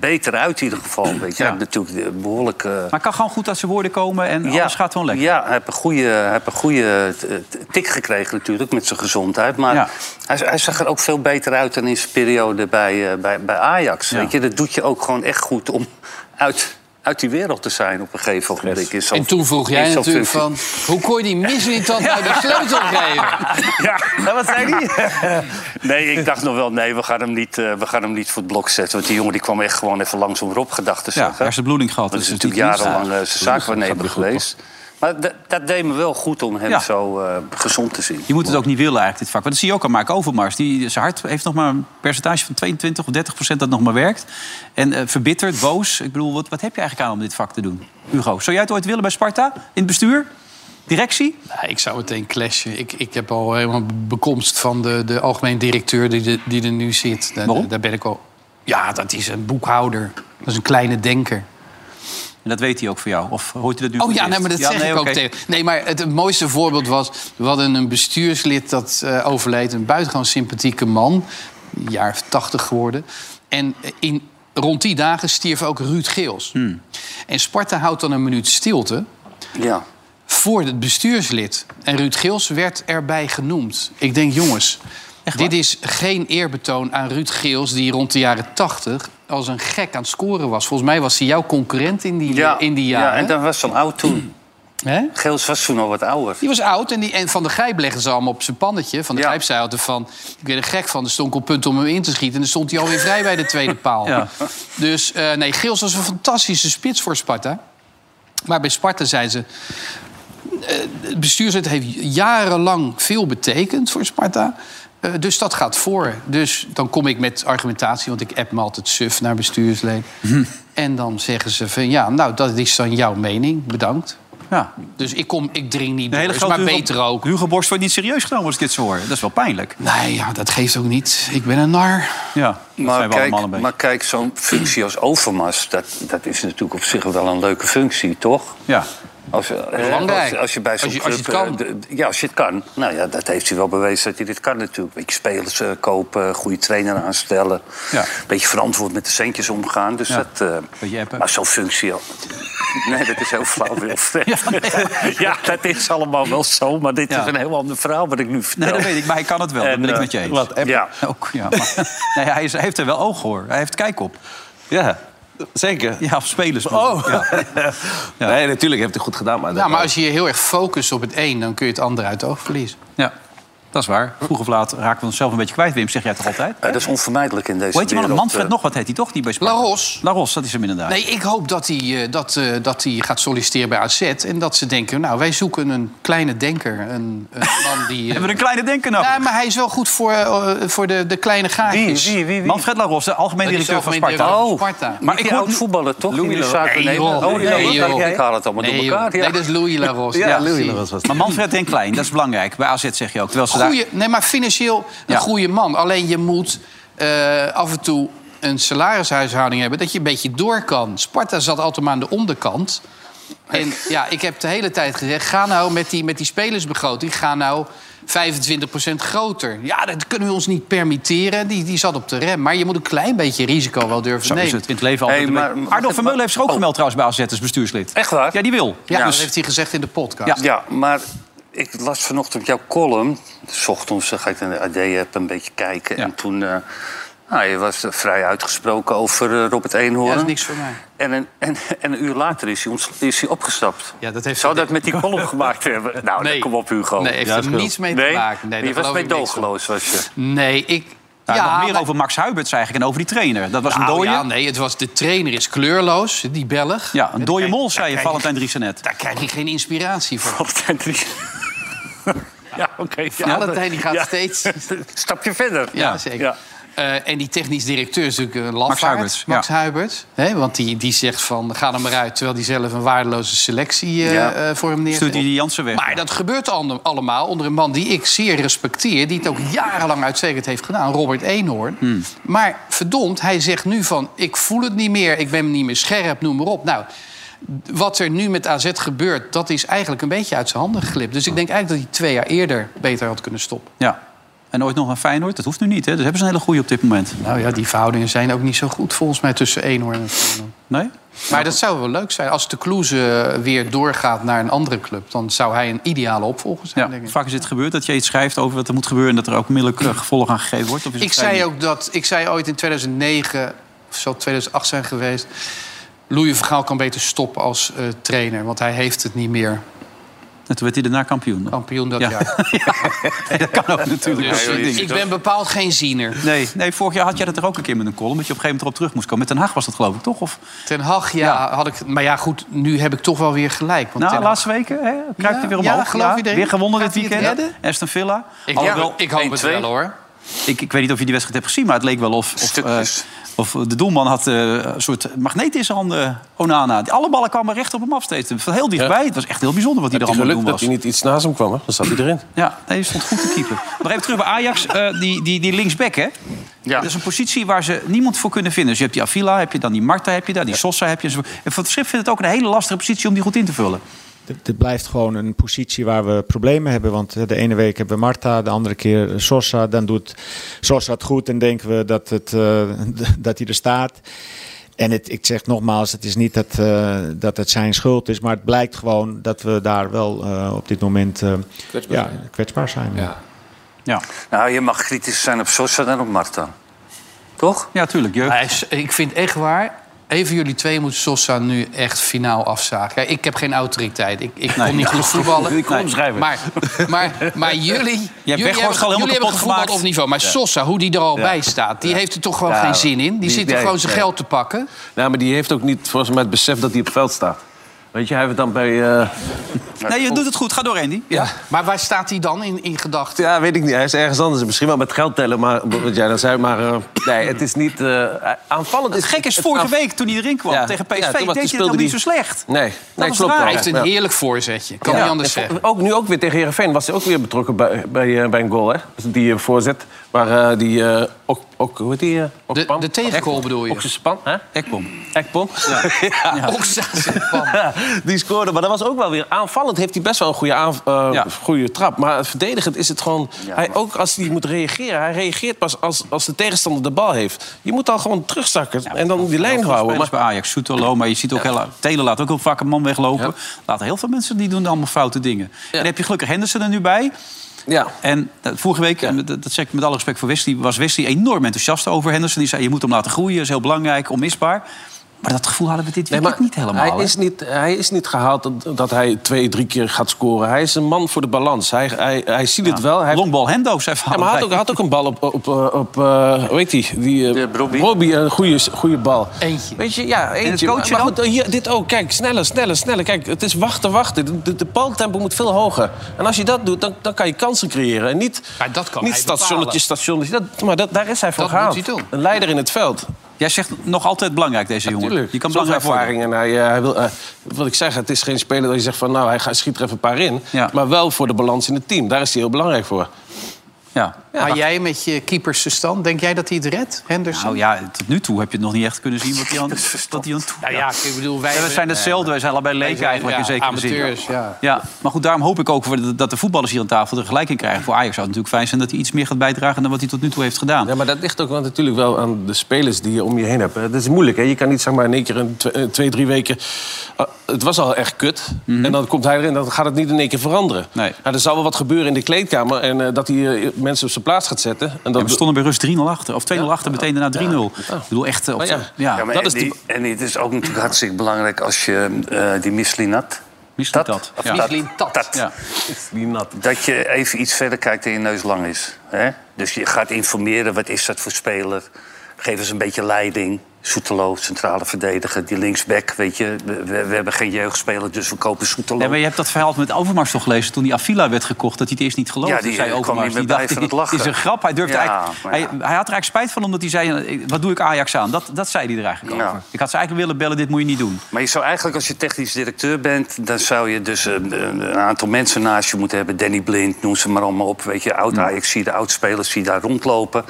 beter uit in ieder geval. Weet je.
Ja.
Hij heeft natuurlijk eh, behoorlijk... eh,
Maar het kan gewoon goed uit zijn woorden komen en alles gaat gewoon lekker.
ja, hij heeft een goede, hij heeft een goede eh, tik gekregen natuurlijk met zijn gezondheid. Maar
Ja.
hij, hij zag er ook veel beter uit dan in zijn periode bij, eh, bij, bij Ajax.
Ja.
Weet je, dat doet je ook gewoon echt goed om uit uit die wereld te zijn op een gegeven moment. In zo'n-
En toen vroeg jij
in zo'n
natuurlijk
functie.
van... hoe kon je die missie dan bij de sleutel geven?
Ja.
wat zei die?
Nee, ik dacht nog wel, nee, we gaan, hem niet, eh, we gaan hem niet voor het blok zetten. Want die jongen die kwam echt gewoon even langs om Rob gedacht te
Ja,
zeggen.
hersenbloeding gehad.
dat
dus
is
het niet
natuurlijk jarenlang eh, zijn
gaat
zaakwaarnemer
weer goed,
geweest. Maar d- dat deed me wel goed om hem
Ja.
zo eh, gezond te zien.
Je moet het ook niet willen eigenlijk, dit vak. Want dat zie je ook aan Mark Overmars. Die, zijn hart heeft nog maar een percentage van 22 of 30 procent dat nog maar werkt. En eh, verbitterd, boos. Ik bedoel, wat, wat heb je eigenlijk aan om dit vak te doen? Hugo, zou jij het ooit willen bij Sparta? In het bestuur? Directie?
Ja, ik zou meteen clashen. Ik, ik heb al helemaal bekomst van de, de algemeen directeur die, de- die er nu zit. Daar,
Waarom?
daar ben ik al... Ja, dat is een boekhouder. Dat is een kleine denker.
En dat weet hij ook van jou. Of hoort hij dat nu
Oh
voor
ja,
het
nee, maar dat
eerst?
zeg ik ook
oké.
tegen. Nee, maar het, het mooiste voorbeeld was... we hadden een bestuurslid dat eh, overleed. Een buitengewoon sympathieke man. Een jaar of tachtig geworden. En in, rond die dagen stierf ook Ruud Geels. En Sparta houdt dan een minuut stilte
Ja.
voor het bestuurslid. En Ruud Geels werd erbij genoemd. Ik denk, jongens, dit is geen eerbetoon aan Ruud Geels... die rond de jaren tachtig als een gek aan het scoren was. Volgens mij was hij jouw concurrent in die,
Ja,
in die
ja, en
jaren.
dan was zo'n oud toen.
Hè?
Geels was toen al wat ouder.
Die was oud en, die, en Van de Gijp legde ze allemaal op zijn pannetje. Van de
Ja.
Gijp zei altijd van... ik ben er gek van, er stond ik op punt om hem in te schieten... en dan stond hij alweer vrij bij de tweede paal.
Ja.
Dus eh, nee, Geels was een fantastische spits voor Sparta. Maar bij Sparta zijn ze... eh, het bestuurslid heeft jarenlang veel betekend voor Sparta... Eh, dus dat gaat voor. Dus dan kom ik met argumentatie, want ik app me altijd suf naar bestuursleden. En dan zeggen ze van ja, nou dat is dan jouw mening, bedankt.
Ja.
Dus ik, kom, ik drink niet
De hele
door. Is maar
grote Hugo-
beter ook.
Hugo Borst wordt niet serieus genomen als ik dit zo hoor. Dat is wel pijnlijk.
Nee, ja, dat geeft ook niet. Ik ben een nar.
Ja, dat zijn
Maar
we allemaal
kijk,
een beetje.
maar kijk, zo'n functie als Overmars, dat, dat is natuurlijk op zich wel een leuke functie, toch?
Ja.
Als, je- hè,
Belangrijk.
Als, als je bij zo'n
Als je- als je
club,
het
eh, de- ja, als je het kan. Nou ja, dat heeft hij wel bewezen dat hij dit kan natuurlijk. Beetje spelers eh, kopen, goede trainer aanstellen.
Ja.
Beetje verantwoord met de centjes omgaan. Dus
Ja.
dat, eh,
Beetje appen.
maar zo'n functie... al- Nee, dat is heel flauw. Wilfred. ja, dat is allemaal wel zo. Maar dit
Ja.
is een heel ander verhaal wat ik nu vertel.
Nee, dat weet ik, maar hij kan het wel. dat
Nou.
ben ik
En, eh,
met je eens.
wat appen? Ja.
Ook, ja, maar, nee, hij, is- hij heeft er wel oog voor. Hij heeft kijk op.
Ja, zeker.
Ja, of spelers. Oh. Ja. Ja.
Nee, natuurlijk heeft hij goed gedaan. Maar
Ja, maar als je je heel erg focust op het een, dan kun je het ander uit het oog verliezen.
ja, dat is waar. Vroeg of laat raken we onszelf een beetje kwijt. Wim, zeg jij toch altijd?
Eh, dat is onvermijdelijk in deze
Hoe heet die man?
wereld.
Manfred
eh.
nog, wat heet hij toch? Die bij Sparta?
Laros.
Laros, dat is hem inderdaad.
Nee, ik hoop dat hij, eh, dat, eh, dat hij gaat solliciteren bij AZ. En dat ze denken, nou, wij zoeken een kleine denker. Een, een man die... eh,
Hebben we een kleine denker nog?
Ja, maar hij is wel goed voor, eh, voor de, de kleine gaatjes.
Manfred Laros, de algemeen
Dat is de
directeur van
algemeen
Sparta.
directeur van Sparta.
Maar
Maar ik
ik hoor
oud
nu-
voetballen toch? Die nu zaken
Nee,
nemen?
joh.
Oh, die
Nee,
Laros.
joh.
Kijk, Ik haal het allemaal
Nee,
door
joh.
elkaar. ja.
nee, dat is Louis Laros.
Ja, Louis
zie je.
Laros was
Maar Manfred en Klein, dat is belangrijk. Bij AZ zeg je ook. Terwijl ze daar-
Goeie, nee, maar financieel een
Ja.
goede man. Alleen je moet eh, af en toe een salarishuishouding hebben... dat je een beetje door kan. Sparta zat altijd maar aan de onderkant. En ja, ik heb de hele tijd gezegd... ga nou met die, met die spelersbegroting, ga nou 25% groter. Ja, dat kunnen we ons niet permitteren. Die, die zat op de rem. Maar je moet een klein beetje risico wel durven
Zo
nemen.
is het in het leven altijd.
Hey,
een
maar- Oh.
beetje. Arnold Vermeulen heeft zich ook gemeld trouwens bij AZ als bestuurslid.
Echt waar?
Ja, die wil.
Ja,
Ja,
dat
dus-
heeft hij gezegd in de podcast.
Ja.
Ja, maar ik las vanochtend jouw column. 's ochtends eh, ga ik naar de AD-app een beetje kijken.
Ja.
En toen... eh, nou, je was eh, vrij uitgesproken over eh, Robert Eenhoorn.
Ja, dat is niks voor mij.
En een, en, en een uur later is hij, ons, is hij opgestapt.
Ja, dat heeft-
Zou dat met die column gemaakt hebben? Nou, dan kom op, Hugo.
Nee, heeft er niets mee te
Nee?
maken. Nee,
je
daar
was
geloof ik niks van.
meedogenloos, was je.
Nee, ik...
Nou, nog meer
maar-
over Max Huiberts eigenlijk en over die trainer. Dat was een
Nou
dooie.
ja,
Ja,
nee, het was, de trainer is kleurloos, die Belg.
een dooie mol, zei je,
kijk.
Valentijn Driessen net.
Daar krijg je geen inspiratie voor.
Valentijn Dries. Ja, oké.
Ja, Valentijn, die gaat steeds-
Stapje verder.
Ja, zeker.
Ja.
Eh, en die technisch directeur is natuurlijk een lafaard.
Max Huiberts,
Max
ja.
Huiberts. Hè, want die, die zegt van, ga er maar uit... terwijl die zelf een waardeloze selectie eh,
Ja.
eh, voor hem neerzet.
Stuurt hij die Jansen weg.
Maar dat gebeurt al- allemaal onder een man die ik zeer respecteer... die het ook jarenlang uitstekend heeft gedaan, Robert Eenhoorn. Maar verdomd, hij zegt nu van... ik voel het niet meer, ik ben niet meer scherp, noem maar op. Nou, wat er nu met AZ gebeurt... dat is eigenlijk een beetje uit zijn handen geglipt. Dus ik denk eigenlijk dat hij twee jaar eerder beter had kunnen stoppen.
Ja. En ooit nog een Feyenoord, dat hoeft nu niet. Hè? Dus hebben ze een hele goede op dit moment.
Nou ja, die verhoudingen zijn ook niet zo goed volgens mij tussen Eenhoorn en Eenhoorn.
Nee?
Maar dat zou wel leuk zijn. Als de Kloeze weer doorgaat naar een andere club... dan zou hij een ideale opvolger zijn,
Ja.
denk ik.
Vaak is het gebeurd dat je iets schrijft over wat er moet gebeuren... en dat er ook onmiddellijk eh, gevolg aan gegeven wordt. Of is het
Ik zei
fijn?
ook dat ik zei ooit in 2009 of zo 2008 zijn geweest. Louis van Gaal kan beter stoppen als eh, trainer, want hij heeft het niet meer.
En toen werd hij daarna kampioen.
Kampioen dat
Ja.
jaar.
Nee, dat kan ook natuurlijk.
Dus
joh, je
ik,
ziet
ik
ook-
ben bepaald geen ziener.
Nee, nee, vorig jaar had jij dat er ook een keer met een column... dat je op een gegeven moment erop terug moest komen. Met Den Haag was dat geloof ik, toch? Of,
Ten Hag, ja, had ik. Maar ja, goed, nu heb ik toch wel weer gelijk. Want
nou,
Ten Hag-
laatste weken hè, kruipt hij
Ja,
weer
ja,
omhoog.
geloof je erin?
weer gewonnen
Gaat
dit
hij het
weekend.
redden?
Aston Villa.
Ik,
Alhoewel,
ja, ik hoop het
1-2.
wel hoor.
ik, ik weet niet of je die wedstrijd hebt gezien... maar het leek wel of, of, eh,
Stukjes.
of de doelman had eh, een soort magneet in zijn handen. Onana. Alle ballen kwamen recht op hem af steeds. Van heel dichtbij. Het was echt heel bijzonder wat hij
Het
er
is
allemaal aan het doen was.
geluk dat hij niet iets naast hem kwam, hè? dan zat hij erin.
Ja, nee, die stond goed te keeper. Maar even terug bij Ajax, eh, die, die, die linksback, hè?
Ja.
dus-
Dat is een positie waar ze niemand voor kunnen vinden. Dus je hebt die Avila, heb je dan die Marta, heb je daar, die Sosa heb je. enzovoort. En Van het Schip vindt het ook een hele lastige positie om die goed in te vullen.
Dit, dit blijft gewoon een positie waar we problemen hebben. Want eh, de ene week hebben we Marta, de andere keer eh, Sosa. Dan doet Sosa het goed en denken we dat, het, eh, dat hij er staat. En het, ik zeg nogmaals, het is niet dat, eh, dat het zijn schuld is. Maar het blijkt gewoon dat we daar wel eh, op dit moment eh,
Kwetsbaar
ja, kwetsbaar zijn. Ja.
Ja,
Nou, je mag kritisch zijn op Sosa en op Marta. Toch?
ja tuurlijk. Jeugd.
Hij is- ik vind echt waar. Even jullie twee moeten Sosa nu echt finaal afzagen. Kijk, ik heb geen autoriteit. Ik, ik kon niet goed voetballen.
Ik kon omschrijven.
Maar, maar, maar jullie, jullie
Weghorst al helemaal
jullie hebben
kapot
gevoetbald
gemaakt.
op niveau. Maar Sosa, hoe die er al bij staat, die heeft er toch gewoon geen zin in. Die, zit er
nee,
gewoon zijn
nee.
geld te pakken.
Ja, maar die heeft ook niet volgens mij het besef dat hij op het veld staat. Weet je, hij heeft het dan bij... eh,
Nee, je doet het goed. Ga door, Andy. Ja.
Maar waar staat hij dan in, in gedachten?
Ja, weet ik niet. Hij is ergens anders. Misschien wel met geld tellen, maar wat jij dan zei. Maar eh, nee, het is niet eh, aanvallend.
Het gekke is, vorige
aanv-
week toen hij erin kwam
Ja.
tegen
Ja,
PSV...
toen was-
deed je
toen
dat nog
speelde
niet zo
die-
slecht.
Nee, nee
was
klopt.
waar.
Hij
ja.
heeft een
Ja.
heerlijk voorzetje. Kan
Ja.
niet anders
En
zeggen.
Ook nu ook weer tegen Herenveen was hij ook weer betrokken bij, bij, eh, bij een goal, hè? Dus die eh, voorzet. Maar eh, die... eh, ook, ook, hoe heet die? eh,
De,
Okpan?
de tegengoal bedoel je?
Oksespan, hè?
Ekbom.
Ekpom.
Oksa-
Ja, die scoorde. Maar dat was ook wel weer aanvallend. Heeft hij best wel een goede, aanv- eh,
Ja.
goede trap. Maar verdedigend is het gewoon...
Ja,
hij,
maar-
ook als hij moet reageren. Hij reageert pas als, als de tegenstander de bal heeft. Je moet dan gewoon terugzakken en dan die lijn houden.
Spelers
Maar,
bij Ajax, Soetolo, maar je ziet ook heel... Telen laat ook heel vaak een man weglopen. Laten heel veel mensen, die doen allemaal foute dingen. En dan heb je gelukkig Henderson er nu bij.
ja.
En eh, vorige week, en dat, dat zeg ik met alle respect voor Wesley... was Wesley enorm enthousiast over Henderson. Die zei, je moet hem laten groeien, is heel belangrijk, onmisbaar. Maar dat gevoel hadden we dit
Nee,
weekend niet helemaal.
hij,
hè?
is niet, hij is niet gehaald dat, dat hij twee, drie keer gaat scoren. Hij is een man voor de balans. Hij, hij, hij ziet het wel. Hij,
Longball Hendo, zei Van
Ja, maar hij had ook, hij had ook een bal op, op, eh, op eh, hoe heet die? die eh,
De Brobbey.
Brobbey, een goede, goede bal.
Eentje.
Weet je, ja, eentje.
het coachen
maar
dan?
goed, eh, hier, dit ook, kijk, sneller, sneller, sneller. Kijk, het is wachten, wachten. De, de, de baltempo moet veel hoger. En als je dat doet, dan, dan kan je kansen creëren. En niet,
Maar dat kan
niet
hij
stationnetje,
bepalen.
stationnetje. Dat, maar dat, daar is hij voor
Dat
gehaald.
moet hij doen.
Een leider in het veld.
Jij zegt nog altijd belangrijk, deze jongen.
Tuurlijk.
Je kan
Zoveel
belangrijk worden.
ervaring. En hij, eh, hij wil, eh, wat ik zeg, het is geen speler dat je zegt van... nou, hij gaat- schiet er even een paar in.
Ja.
Maar wel voor de balans in het team. Daar is hij heel belangrijk voor.
Ja.
Maar jij met je keepersstand, denk jij dat hij het redt, Henderson?
Nou ja, tot nu toe heb je het nog niet echt kunnen zien wat hij aan, wat hij aan toe...
Nou ja, ik bedoel, wij
Ja, we zijn hetzelfde, wij zijn allebei leken eigenlijk in zekere zin.
amateurs, ja.
Ja, maar goed, daarom hoop ik ook voor de- dat de voetballers hier aan tafel er gelijk in krijgen. Voor Ajax zou het natuurlijk fijn zijn dat hij iets meer gaat bijdragen dan wat hij tot nu toe heeft gedaan.
Ja, maar dat ligt ook wel natuurlijk wel aan de spelers die je om je heen hebt. Het is moeilijk, hè? Je kan niet zeg maar in één keer in tw- eh, twee, drie weken... Ah, het was al echt kut. En dan komt hij erin, dan gaat het niet in één keer veranderen.
Mhm. Nee.
Nou, er zal wel wat gebeuren in de kleedkamer... en eh, dat hij eh, mensen op zijn plaats gaat zetten. En
Ja,
dat
we stonden bij rust 3-0 achter. Of 2-0 achter, meteen daarna 3-0. Ik bedoel, echt... eh, Op,
Maar ja.
ja. Ja,
Ja, maar
dat
en,
is
die, en het is ook natuurlijk hartstikke belangrijk als je eh, die mislinat...
Mislintat, ja.
Mislintat,
ja.
die nat.
Dat je even iets verder kijkt en je neus lang is. Hè? Dus je gaat informeren, wat is dat voor speler? Geef eens een beetje leiding. Soetelo, centrale verdediger, die linksback, weet je. We, we- we hebben geen jeugdspeler, dus we kopen Soetelo.
Nee, maar je hebt dat verhaal met Overmars toch gelezen toen die Avila werd gekocht, dat hij het eerst niet geloofde.
Ja, die,
zei
eh, kwam
Overmars.
niet meer bij van het lachen.
Dit is een grap. Hij durfde
Ja,
eigenlijk,
maar
hij,
ja.
hij had er eigenlijk spijt van omdat hij zei, eh, wat doe ik Ajax aan? Dat, dat zei hij er eigenlijk
Ja.
over. Ik had ze eigenlijk willen bellen, dit moet je niet doen.
Maar je zou eigenlijk, als je technisch directeur bent... dan zou je dus eh, een, een aantal mensen naast je moeten hebben. Danny Blind, noem ze maar allemaal op. Weet je, oud Ajax, zie de oud-spelers, zie daar rondlopen.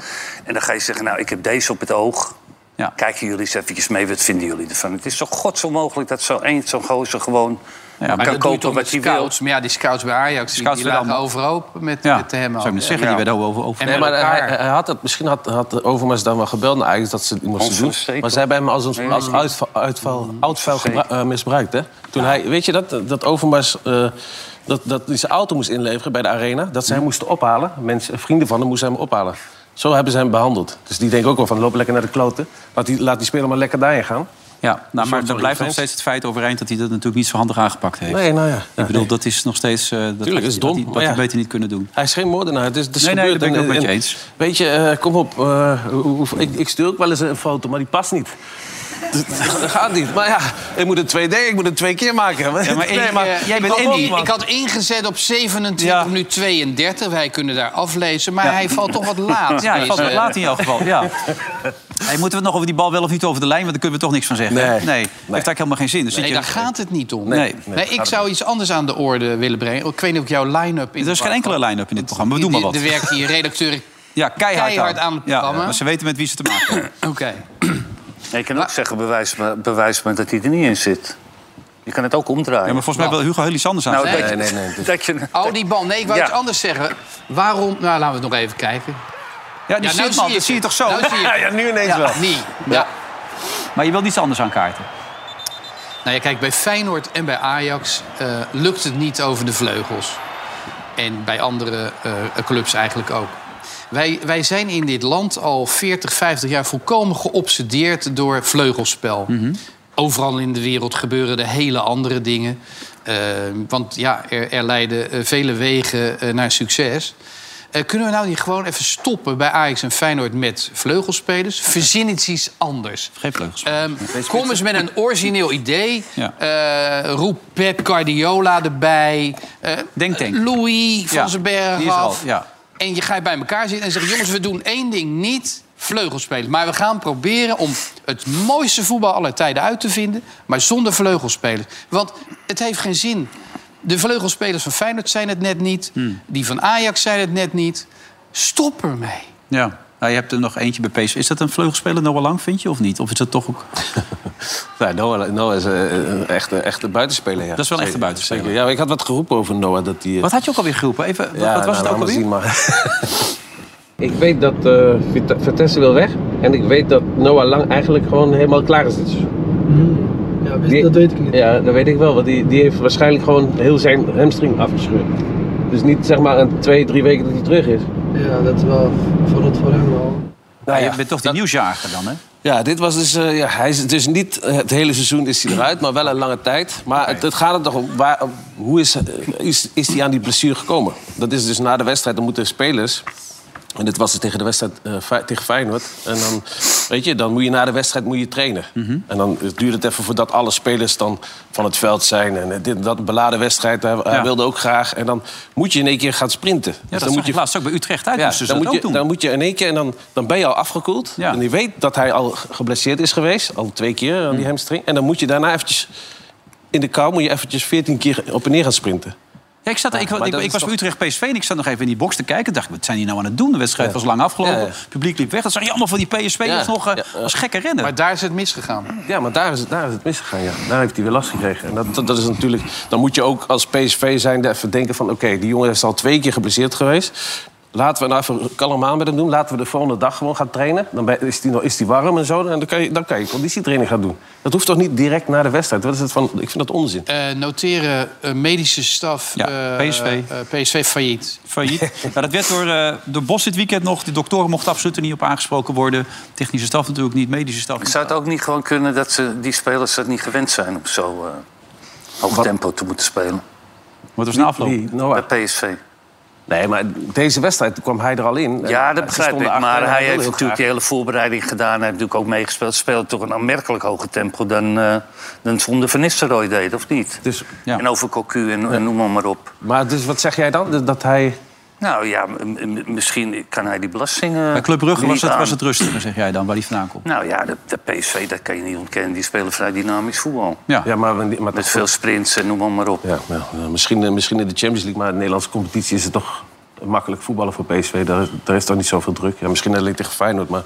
En dan ga je zeggen, nou, ik heb deze op het oog.
Ja.
Kijken jullie eens eventjes mee, wat vinden jullie ervan? Het is zo godsonmogelijk dat zo'n één, zo'n gozer gewoon...
maar
Maar
kan
dat doe je
kopen
toch met
wat hij wil.
scouts. Maar ja, die scouts bij Ajax, die,
Scouts
die
willen
lagen
allemaal-
overhoop met,
Ja,
met hem
zou ik net zeggen,
Ja.
die werden over. over.
En
Nee,
met
maar hij,
elkaar.
hij had het, misschien had, had Overmars dan wel gebeld naar Ajax dat ze het moesten
Hans
doen.
Versteeg
Maar zij hebben hem als, een, als uitval, uitval, uitval gebru- eh, misbruikt. Hè? Toen hij, weet je dat, dat Overmars eh, dat, dat hij zijn auto moest inleveren bij de arena. Dat zij hem moesten ophalen. Mensen, vrienden van hem moesten hem ophalen. Zo hebben ze hem behandeld. Dus die denken ook wel van loop lekker naar de kloten. Laat die, laat die speler maar lekker daarheen gaan.
Ja, nou, maar
soort
dan
van
blijft nog
defensie.
steeds het feit overeind dat hij dat natuurlijk niet zo handig aangepakt heeft.
Nee, nou ja.
Ik bedoel, dat is nog steeds. eh dat
Tuurlijk, dat is
had hij-
dom,
Dat
maar
had hij
ja.
beter niet kunnen doen.
Hij is geen moordenaar. Het is, het is
Nee, nee,
gebeurd.
dat ben ik
En-
ook met je
en-
eens.
Weet je, eh, kom op. eh, hoe- hoe- ik, ik stuur ook wel eens een foto, maar die past niet. Dus, Dat gaat niet. Maar ja, ik moet het 2D, ik moet het twee keer maken.
maar
Nee,
ik- eh, jij bent
kom
Andy.
op, man.
Ik had ingezet op 27,
Ja.
nu 32. Wij kunnen daar aflezen. Maar hij valt toch wat laat. eh,
Ja, hij valt wat
deze-
laat in jouw geval. Ja. Hey, moeten we het nog over die bal wel of niet over de lijn? Want daar kunnen we toch niks van zeggen.
Nee.
hè? nee. heeft eigenlijk helemaal geen zin. Dus zit
Nee,
je-
daar gaat het niet om.
Nee.
Nee, ik zou iets anders aan de orde willen brengen. Ik weet niet of ik jouw line-up... in
Er is geen
de war-
enkele line-up in dit programma. We doen maar wat.
Er werkt hier redacteur...
Ja, keihard,
keihard aan het programma.
Ja, maar ze weten met wie ze te maken hebben.
Oké.
Nee, je kan ook zeggen, bewijs me, bewijs me dat hij er niet in zit. Je kan het ook omdraaien.
Ja, maar volgens mij wil Hugo Helisanders aan.
nou,
Nee,
dat, je-
nee, nee, dit-
dat je,
Oh, die bal. Nee, ik wou
Ja.
iets anders zeggen. Waarom... Nou, laten we het nog even kijken.
ja, die
Ja, nou
zit, man,
ik
dat zie je
het.
toch zo?
Nou zie je
Ja,
het.
ja, nu ineens
Ja,
wel.
niet. Ja.
Maar je wilt iets anders aan kaarten.
Nou ja, kijk, bij Feyenoord en bij Ajax eh, lukt het niet over de vleugels. En bij andere eh, clubs eigenlijk ook. Wij, wij zijn in dit land al 40, 50 jaar volkomen geobsedeerd door vleugelspel. Overal in de wereld gebeuren er hele andere dingen. Eh, want ja, er, er leiden eh, vele wegen eh, naar succes. Eh, kunnen we nou niet gewoon even stoppen bij Ajax en Feyenoord met vleugelspelers? Verzin iets iets anders.
Geen vleugels.
Ehm, kom eens met een origineel idee.
Ja.
Eh, roep Pep Guardiola erbij. Eh,
Denk, denk.
Louis van
Ja,
zijn berg
die is er al,
af.
ja.
En je gaat bij elkaar zitten en zegt... jongens, we doen één ding niet, vleugelspelen. Maar we gaan proberen om het mooiste voetbal aller tijden uit te vinden... maar zonder vleugelspelers. Want het heeft geen zin. De vleugelspelers van Feyenoord zijn het net niet.
Hmm.
Die van Ajax zijn het net niet. Stop ermee.
Ja. Nou, je hebt er nog eentje bij PSV. Is dat een vleugelspeler Noah Lang, vind je, of niet? Of is dat toch ook...
Nou, Noah, Noah is eh, een echte, echte buitenspeler. Ja.
Dat is wel een echte
Zeker,
buitenspeler.
zeker. Ja, maar ik had wat geroepen over Noah. Dat die, eh,
Wat had je ook alweer geroepen? Even, wat-
ja,
wat was
nou,
het ook
laat maar
alweer?
zien, maar-
Ik weet dat eh, Vitesse wil weg. En ik weet dat Noah Lang eigenlijk gewoon helemaal klaar is. Dus
Ja,
Die-
weet- Dus dat weet ik niet.
Ja, dat weet ik wel. Want die, die heeft waarschijnlijk gewoon heel zijn hamstring afgescheurd. Dus niet zeg maar een twee, drie weken dat hij terug is.
Ja, dat is wel verrot voor hem al.
Nou
Ja,
ja,
je bent toch die nieuwsjager dan, hè?
Ja, dit was dus, eh, ja, hij is dus niet eh, het hele seizoen is hij eruit, maar wel een lange tijd. Maar het, het gaat er toch om, waar, hoe is, eh, is, is hij aan die blessure gekomen? Dat is dus na de wedstrijd, dan moeten spelers... En dit was het tegen de wedstrijd eh, Fey- tegen Feyenoord. En dan, weet je, dan moet je na de wedstrijd moet je trainen.
Mhm.
En dan duurt het even voordat alle spelers dan van het veld zijn. En eh, dit en dat, een beladen wedstrijd, hij, hij
Ja.
wilde ook graag. En dan moet je in één keer gaan sprinten.
Ja,
Dus
dat
dan moet
moet
je
je laatst ook bij Utrecht uit.
ja,
moesten ze
dan,
dat
moet
ook
je,
doen.
dan moet je in één keer en dan, dan ben je al afgekoeld.
Ja.
En je weet dat hij al ge- geblesseerd is geweest, al twee keer aan die hamstring. En dan moet je daarna eventjes in de kou moet je eventjes 14 keer op en neer gaan sprinten.
Ja, ik, zat, ik,
maar
ik,
dat
ik
is
was
toch-
bij Utrecht PSV en ik zat nog even in die box te kijken. En dacht ik, wat zijn die nou aan het doen? De wedstrijd was lang afgelopen.
Ja, ja.
Het publiek liep weg. Dat zag je allemaal van die PSV'ers
Ja,
nog eh,
ja, ja.
als gekke rennen.
Maar daar is het misgegaan.
Ja, maar daar is het, daar is het misgegaan. Ja. Daar heeft hij weer last gekregen. En dat, dat, dat is natuurlijk, dan moet je ook als PSV zijn even denken van... oké, die jongen is al twee keer geblesseerd geweest. Laten we nou even kalm aan met hem doen. Laten we de volgende dag gewoon gaan trainen. Dan ben- is die, nog- is die warm en zo. En dan kan, je, dan kan je conditietraining gaan doen. Dat hoeft toch niet direct na de wedstrijd? Dat is het van, ik vind dat onzin.
Eh, noteren eh, medische staf
Ja,
eh,
PSV.
eh, PSV failliet.
failliet. Nou, dat werd door, eh, door Bos dit weekend nog. De doktoren mochten absoluut er niet op aangesproken worden. Technische staf natuurlijk niet, medische staf niet.
zou het ook niet gewoon kunnen dat ze, die spelers dat niet gewend zijn... om zo eh, hoog tempo te moeten spelen
Wat was na afloop?
Die Noah.
bij PSV?
Nee, maar deze wedstrijd kwam hij er al in.
Ja,
En
dat
ze
begrijp
stonden
ik.
achter en
eh,
Maar hij
wilde
heeft
heel
natuurlijk
graag.
die hele voorbereiding gedaan. Hij heeft natuurlijk ook meegespeeld. Speelt toch een aanmerkelijk hoger tempo dan, eh dan zonder Van Nistelrooy deed, of niet?
Dus,
Ja.
En over Cocu en, en noem maar, maar op.
maar dus wat zeg jij dan? Dat- Dat hij...
Nou ja, m- m- misschien kan hij die belastingen.
Bij Club Brugge was
niet
het,
aan.
was het rustiger, zeg jij dan, waar die vandaan komt.
Nou ja, de, de PSV, dat kan je niet ontkennen. Die spelen vrij dynamisch voetbal.
Ja.
Ja, maar, maar,
Met veel sprints en noem maar, maar op.
ja, maar, eh, misschien, eh, misschien in de Champions League, maar in de Nederlandse competitie is het toch makkelijk voetballen voor PSV. Daar, daar is toch niet zoveel druk. Ja, misschien alleen tegen Feyenoord, maar...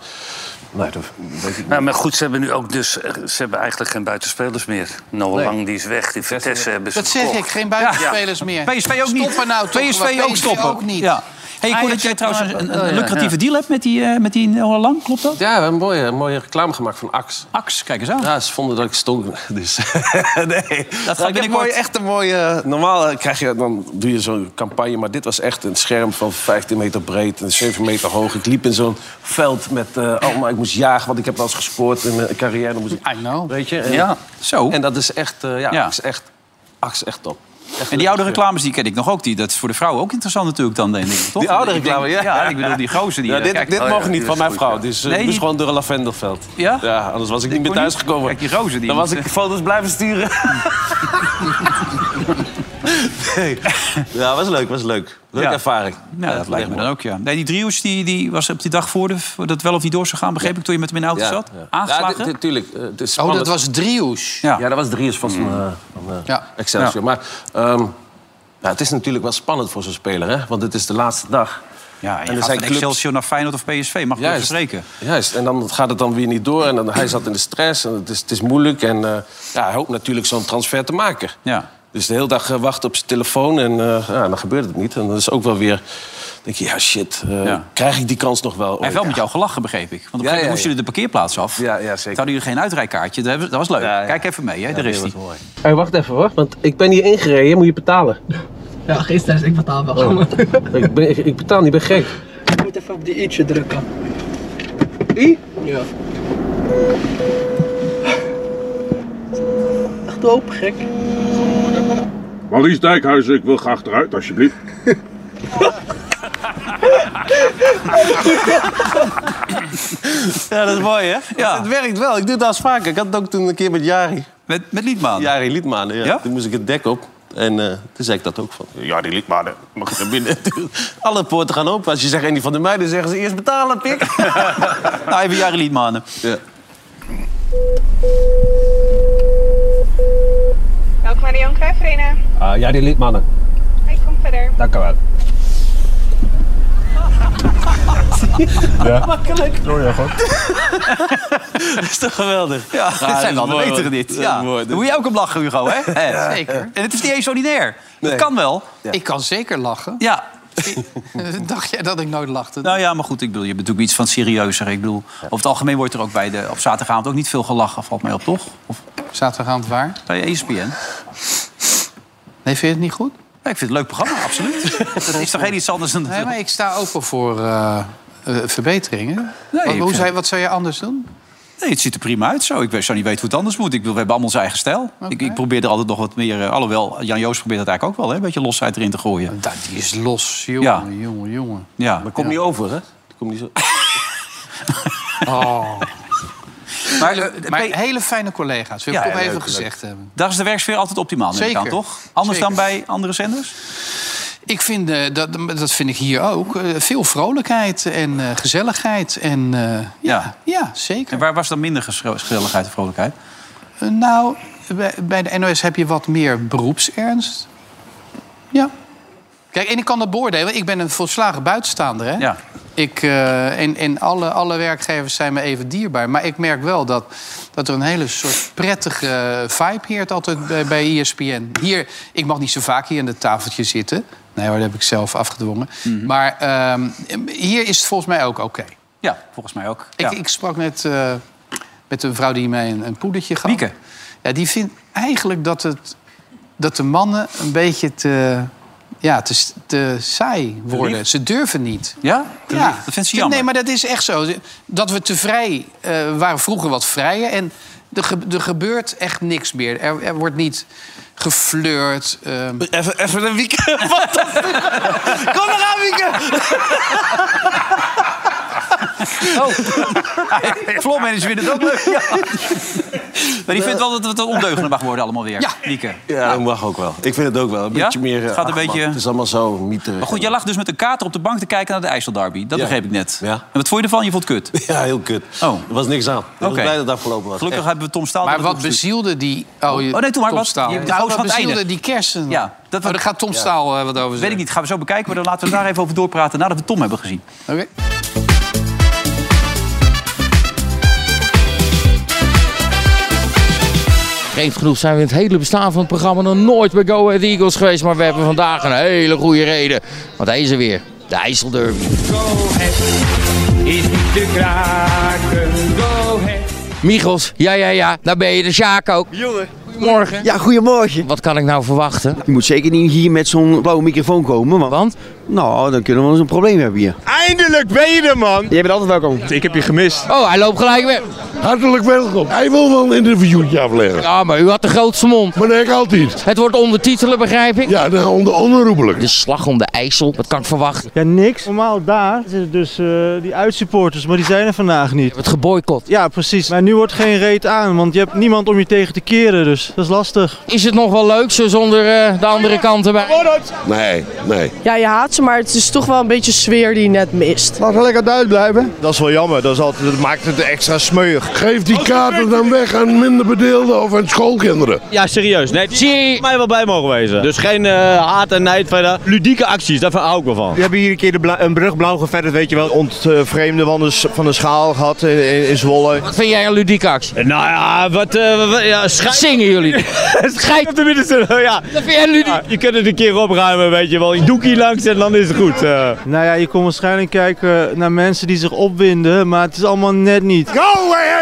Nee, dat weet ik niet.
Nou, maar goed, ze hebben nu ook dus... eh, Ze hebben eigenlijk geen buitenspelers meer. Noah Lang, die is weg. Die Vitesse hebben ze
Dat zeg
verkocht.
ik, geen buitenspelers meer.
PSV ook niet.
Stoppen nou toch,
PSV
maar
ook stoppen.
ook niet.
Ja. Hey, ik hoor
Ajax
dat jij
heeft
trouwens
maar-
een,
oh,
een
ja,
lucratieve
ja.
deal hebt met die, eh met die Noah Lang, klopt dat?
Ja, we hebben een mooie, mooie reclame gemaakt van Ax.
Ax, kijk eens aan.
Ja, ze vonden dat ik stonk. Dus nee.
gaat
ik heb
binnenkort.
mooi, echt een mooie. Normaal eh, krijg je, dan doe je zo'n campagne. Maar dit was echt een scherm van 15 meter breed en 7 meter hoog. Ik liep in zo'n veld met. eh oh, maar ik moest jagen, want ik heb wel eens gescoord in mijn carrière. Dan moest ik,
I know. Oh,
Weet je? En,
Ja, zo.
en dat is echt. eh, ja,
Ja.
Ax is echt, Ax is echt top. Echt
En die oude reclames die ken ik nog ook. Die, dat is voor de vrouwen ook interessant natuurlijk dan, denk ik. Toch?
Die oude
Ik denk-
reclame, ja.
Ja, ik bedoel die gozer die...
Ja,
eh,
dit
kijk,
dit
oh ja,
mogen
die
niet
is
van mijn
goed,
vrouw.
ja.
Dus eh,
Nee,
moest
die-
gewoon door een lavendelveld.
Ja?
Ja, anders was ik niet meer
kon niet.
thuisgekomen.
Kijk, die gozer die eh,
Dan was
moet,
ik foto's blijven sturen. nee. Ja, was leuk, was leuk. Leuke
Ja.
ervaring.
Ja, dat lijkt me dan
ook.
ook, ja. Nee, die Drieus die, die was op die dag voor de, voor dat wel of niet door zou gaan, begreep ik, toen je met hem in de auto zat. Aangeslagen?
Natuurlijk. eh, het is
Oh, dat
spannend.
was Driehoes.
Ja.
Ja, dat was Dries van, eh, van eh,
Ja.
Excelsior. Maar ehm, ja, het is natuurlijk wel spannend voor zo'n speler, hè? Want het is de laatste dag.
ja, en
er
je gaat
zijn
van
clubs-
Excelsior naar Feyenoord of PSV, mag ik wel
Juist.
spreken.
Juist, en dan gaat het dan weer niet door. En dan, hij zat in de stress en het is, het is moeilijk. En eh, ja, hij hoopt natuurlijk zo'n transfer te maken.
Ja.
Dus de hele dag eh, wachten op zijn telefoon en eh, ja, dan gebeurt het niet. En dat is ook wel weer, denk je, ja shit, eh,
Ja.
krijg ik die kans nog wel?
Hij heeft wel met jou gelachen, begreep ik. Want op een gegeven moment moesten
ja, ja.
jullie de parkeerplaats af.
Ja, ja, zeker.
Toen hadden jullie geen uitrijkaartje. Dat hebben- dat was leuk.
Ja, ja.
Kijk even mee, hè. daar is hij.
Hey, Eh, wacht even, wacht, want ik ben hier ingereden, moet je betalen. Oh.
Ja, gisteren is ik betaal wel.
ik, ben, ik, ik betaal niet, ik ben gek.
Je moet even op die i'tje drukken.
I?
Ja. Echt hoop, gek.
Maurice Dijkhuizen, ik wil graag eruit, alsjeblieft.
Ja, dat is mooi, hè?
Ja.
Het werkt wel, ik doe dat vaker. Ik had het ook toen een keer met Jari.
Met, met Liedman.
Jari Liedmanen, ja.
Ja?
Toen moest ik het dek op. En eh, toen zei ik dat ook van, Jari Liedmanen, mag ik naar binnen? Alle poorten gaan open. Als je zegt, die van de meiden, zeggen ze eerst betalen, pik.
Nou, even Jari Liedmanen.
Ja.
Welkom bij de Johan Cruijff Arena.
Ah, ja, die lidmannen.
Ik kom verder.
Dank u wel.
is toch geweldig?
Ja, dit zijn wel de
mooi,
betere
hoor.
dit.
Dat is
Ja.
mooi, dit.
Daar moet je ook op lachen, Hugo, hè? Hè?
Zeker.
En het is niet eens solidair. Dat
Nee.
kan wel.
Ik kan zeker lachen.
Ja.
Dacht jij dat ik nooit lachte?
Nou ja, maar goed, ik bedoel, je bent natuurlijk iets van serieuzer. Ik bedoel, over het algemeen wordt er ook bij de, op zaterdagavond ook niet veel gelachen, valt mij op, toch? Of
Zaterdagavond waar?
bij E ESPN. Ja,
Nee, vind je het niet goed?
ik vind het een leuk programma, absoluut. Dat is toch heel iets anders dan...
Nee, maar ik sta open voor eh, eh, verbeteringen. Wat-
ik
hoe
vind-
zou, je- wat zou je anders doen?
Nee, het ziet er prima uit zo. Ik weet- zou niet weten hoe het anders moet. Ik bedoel, we hebben allemaal ons eigen stijl. Ik, ik probeer er altijd nog wat meer... eh, alhoewel, Jan Joost probeert dat eigenlijk ook wel, hè? Een beetje losheid erin te gooien.
Dat die is los, jongen,
Ja.
jongen, jongen.
Ja.
Maar kom niet over, hè? Kom niet zo...
Oh.
Maar,
Maar
maar-
hele fijne collega's, wil ik
Ja,
toch
ja,
even
leuk,
gezegd hebben.
Eh, daar is de werksfeer altijd optimaal, neem ik aan,
Zeker.
toch? Anders
Zeker.
dan bij andere zenders?
Ik vind, eh, dat, dat vind ik hier ook, eh, veel vrolijkheid en eh, gezelligheid. En, eh,
Ja.
ja, ja,
En
zeker.
waar was dan minder geschro- gezelligheid en vrolijkheid?
Eh, nou, bij, bij de NOS heb je wat meer beroepsernst. Ja. Kijk, en ik kan dat beoordelen. want Ik ben een volslagen buitenstaander, hè?
Ja.
Ik, eh, en en alle, alle werkgevers zijn me even dierbaar. Maar ik merk wel dat, dat er een hele soort prettige vibe heert altijd bij, E bij ESPN. Hier, ik mag niet zo vaak hier aan het tafeltje zitten. Nee hoor, dat heb ik zelf afgedwongen. Maar ehm, hier is het volgens mij ook oké.
Ja, volgens mij ook.
Ik,
Ja.
ik sprak net eh, met een vrouw die mij een, een poedertje gaf.
Wieke.
Ja, die vindt eigenlijk dat, het, dat de mannen een beetje te, ja, te, s- te saai worden. Ze durven niet.
Ja? ja? Dat vindt ze jammer.
Nee, maar dat is echt zo. Dat we te vrij eh, we waren vroeger wat vrijer. En er, ge- er gebeurt echt niks meer. Er, er wordt niet geflirt. ehm.
Even, even een weekend. Wat de fuck? Kom eraan, weekend.
Floormanager vindt het ook leuk. Ja. Maar die vindt wel dat het ondeugender mag worden allemaal weer.
Ja.
Wieke.
Ja, dat mag ook wel. Ik vind het ook wel. Een
Ja?
beetje meer... eh,
Het gaat een
ach,
beetje-
man, het is allemaal zo mieterig.
Maar goed, jij lag dus met een kater op de bank te kijken naar de IJsselderby. Dat
Ja.
begreep ik net.
Ja.
En wat vond je ervan? Je vond het kut.
Ja, heel kut.
Oh.
Er was niks aan. Ik was
Oké.
blij dat het afgelopen was.
Gelukkig
Echt.
hebben we Tom Staal...
maar
dat
wat
opgestuurd.
bezielde die... Oh, je-
Oh, nee, doe maar,
Tom
wat-
Staal.
je- de
Ja,
hoos
wat
van het
bezielde
einde.
die kersen?
Ja, dat
dat
was-
oh, daar gaat Tom Staal eh, wat over
Weet ik
zeggen.
niet, gaan we zo bekijken. Maar dan laten we daar even over doorpraten nadat we Tom hebben gezien.
Oké.
Vreemd genoeg zijn we in het hele bestaan van het programma nog nooit bij Go Ahead Eagles geweest. Maar we hebben vandaag een hele goede reden. Want hij is er weer. De IJsselderby.
Go Ahead is niet te kraken. Go Ahead.
Michels, ja, ja, ja. Daar ben je de Sjaak ook. Jongen. Goedemorgen. Ja, goedemorgen. Wat kan ik nou verwachten?
Je moet zeker niet hier met zo'n blauwe microfoon komen, want... Nou, dan kunnen we eens een probleem hebben hier.
Eindelijk ben je er, man. Je bent altijd welkom. Ik heb je gemist.
Oh, hij loopt gelijk weg.
Hartelijk welkom. Hij wil wel een interviewtje afleggen.
Ja, maar u had de grootste mond.
Maar dat heb ik altijd.
Het wordt ondertitelen, begrijp ik?
Ja, de onder onherroepelijk.
De slag om de IJssel, wat kan ik verwachten?
Ja, niks. Normaal daar zitten dus eh, die uitsupporters, maar die zijn er vandaag niet.
Het geboycott.
Ja, precies. Maar nu wordt geen reet aan, want je hebt niemand om je tegen te keren, dus dat is lastig.
Is het nog wel leuk zo zonder eh, de andere kant erbij?
Nee, nee.
Ja, je haat ze, maar het is toch wel een beetje sfeer die je net mist.
Laten we lekker Duits blijven.
Dat is wel jammer, dat, is altijd, dat maakt het extra smeuig.
Geef die kaarten dan weg aan minderbedeelden of aan schoolkinderen.
Ja, serieus. Nee, die zou mij wel bij mogen wezen. Dus geen eh, haat en nijd verder. Ludieke acties, daar hou ik wel van.
We hebben hier een keer de bla- een brug blauw geverfd, weet je wel. Ontvreemde van de, s- van de schaal gehad in, in- in Zwolle.
Wat vind jij een ludieke actie?
Nou ja, wat... eh, wat- ja, schijt...
Zingen jullie?
schijt op de middenste, ja.
Dat vind jij ludiek?
Ja, je kunt het een keer opruimen, weet je wel. Een doekie langs en dan is het goed. eh.
Nou ja, je kon waarschijnlijk kijken naar mensen die zich opwinden, maar het is allemaal net niet.
Go Ahead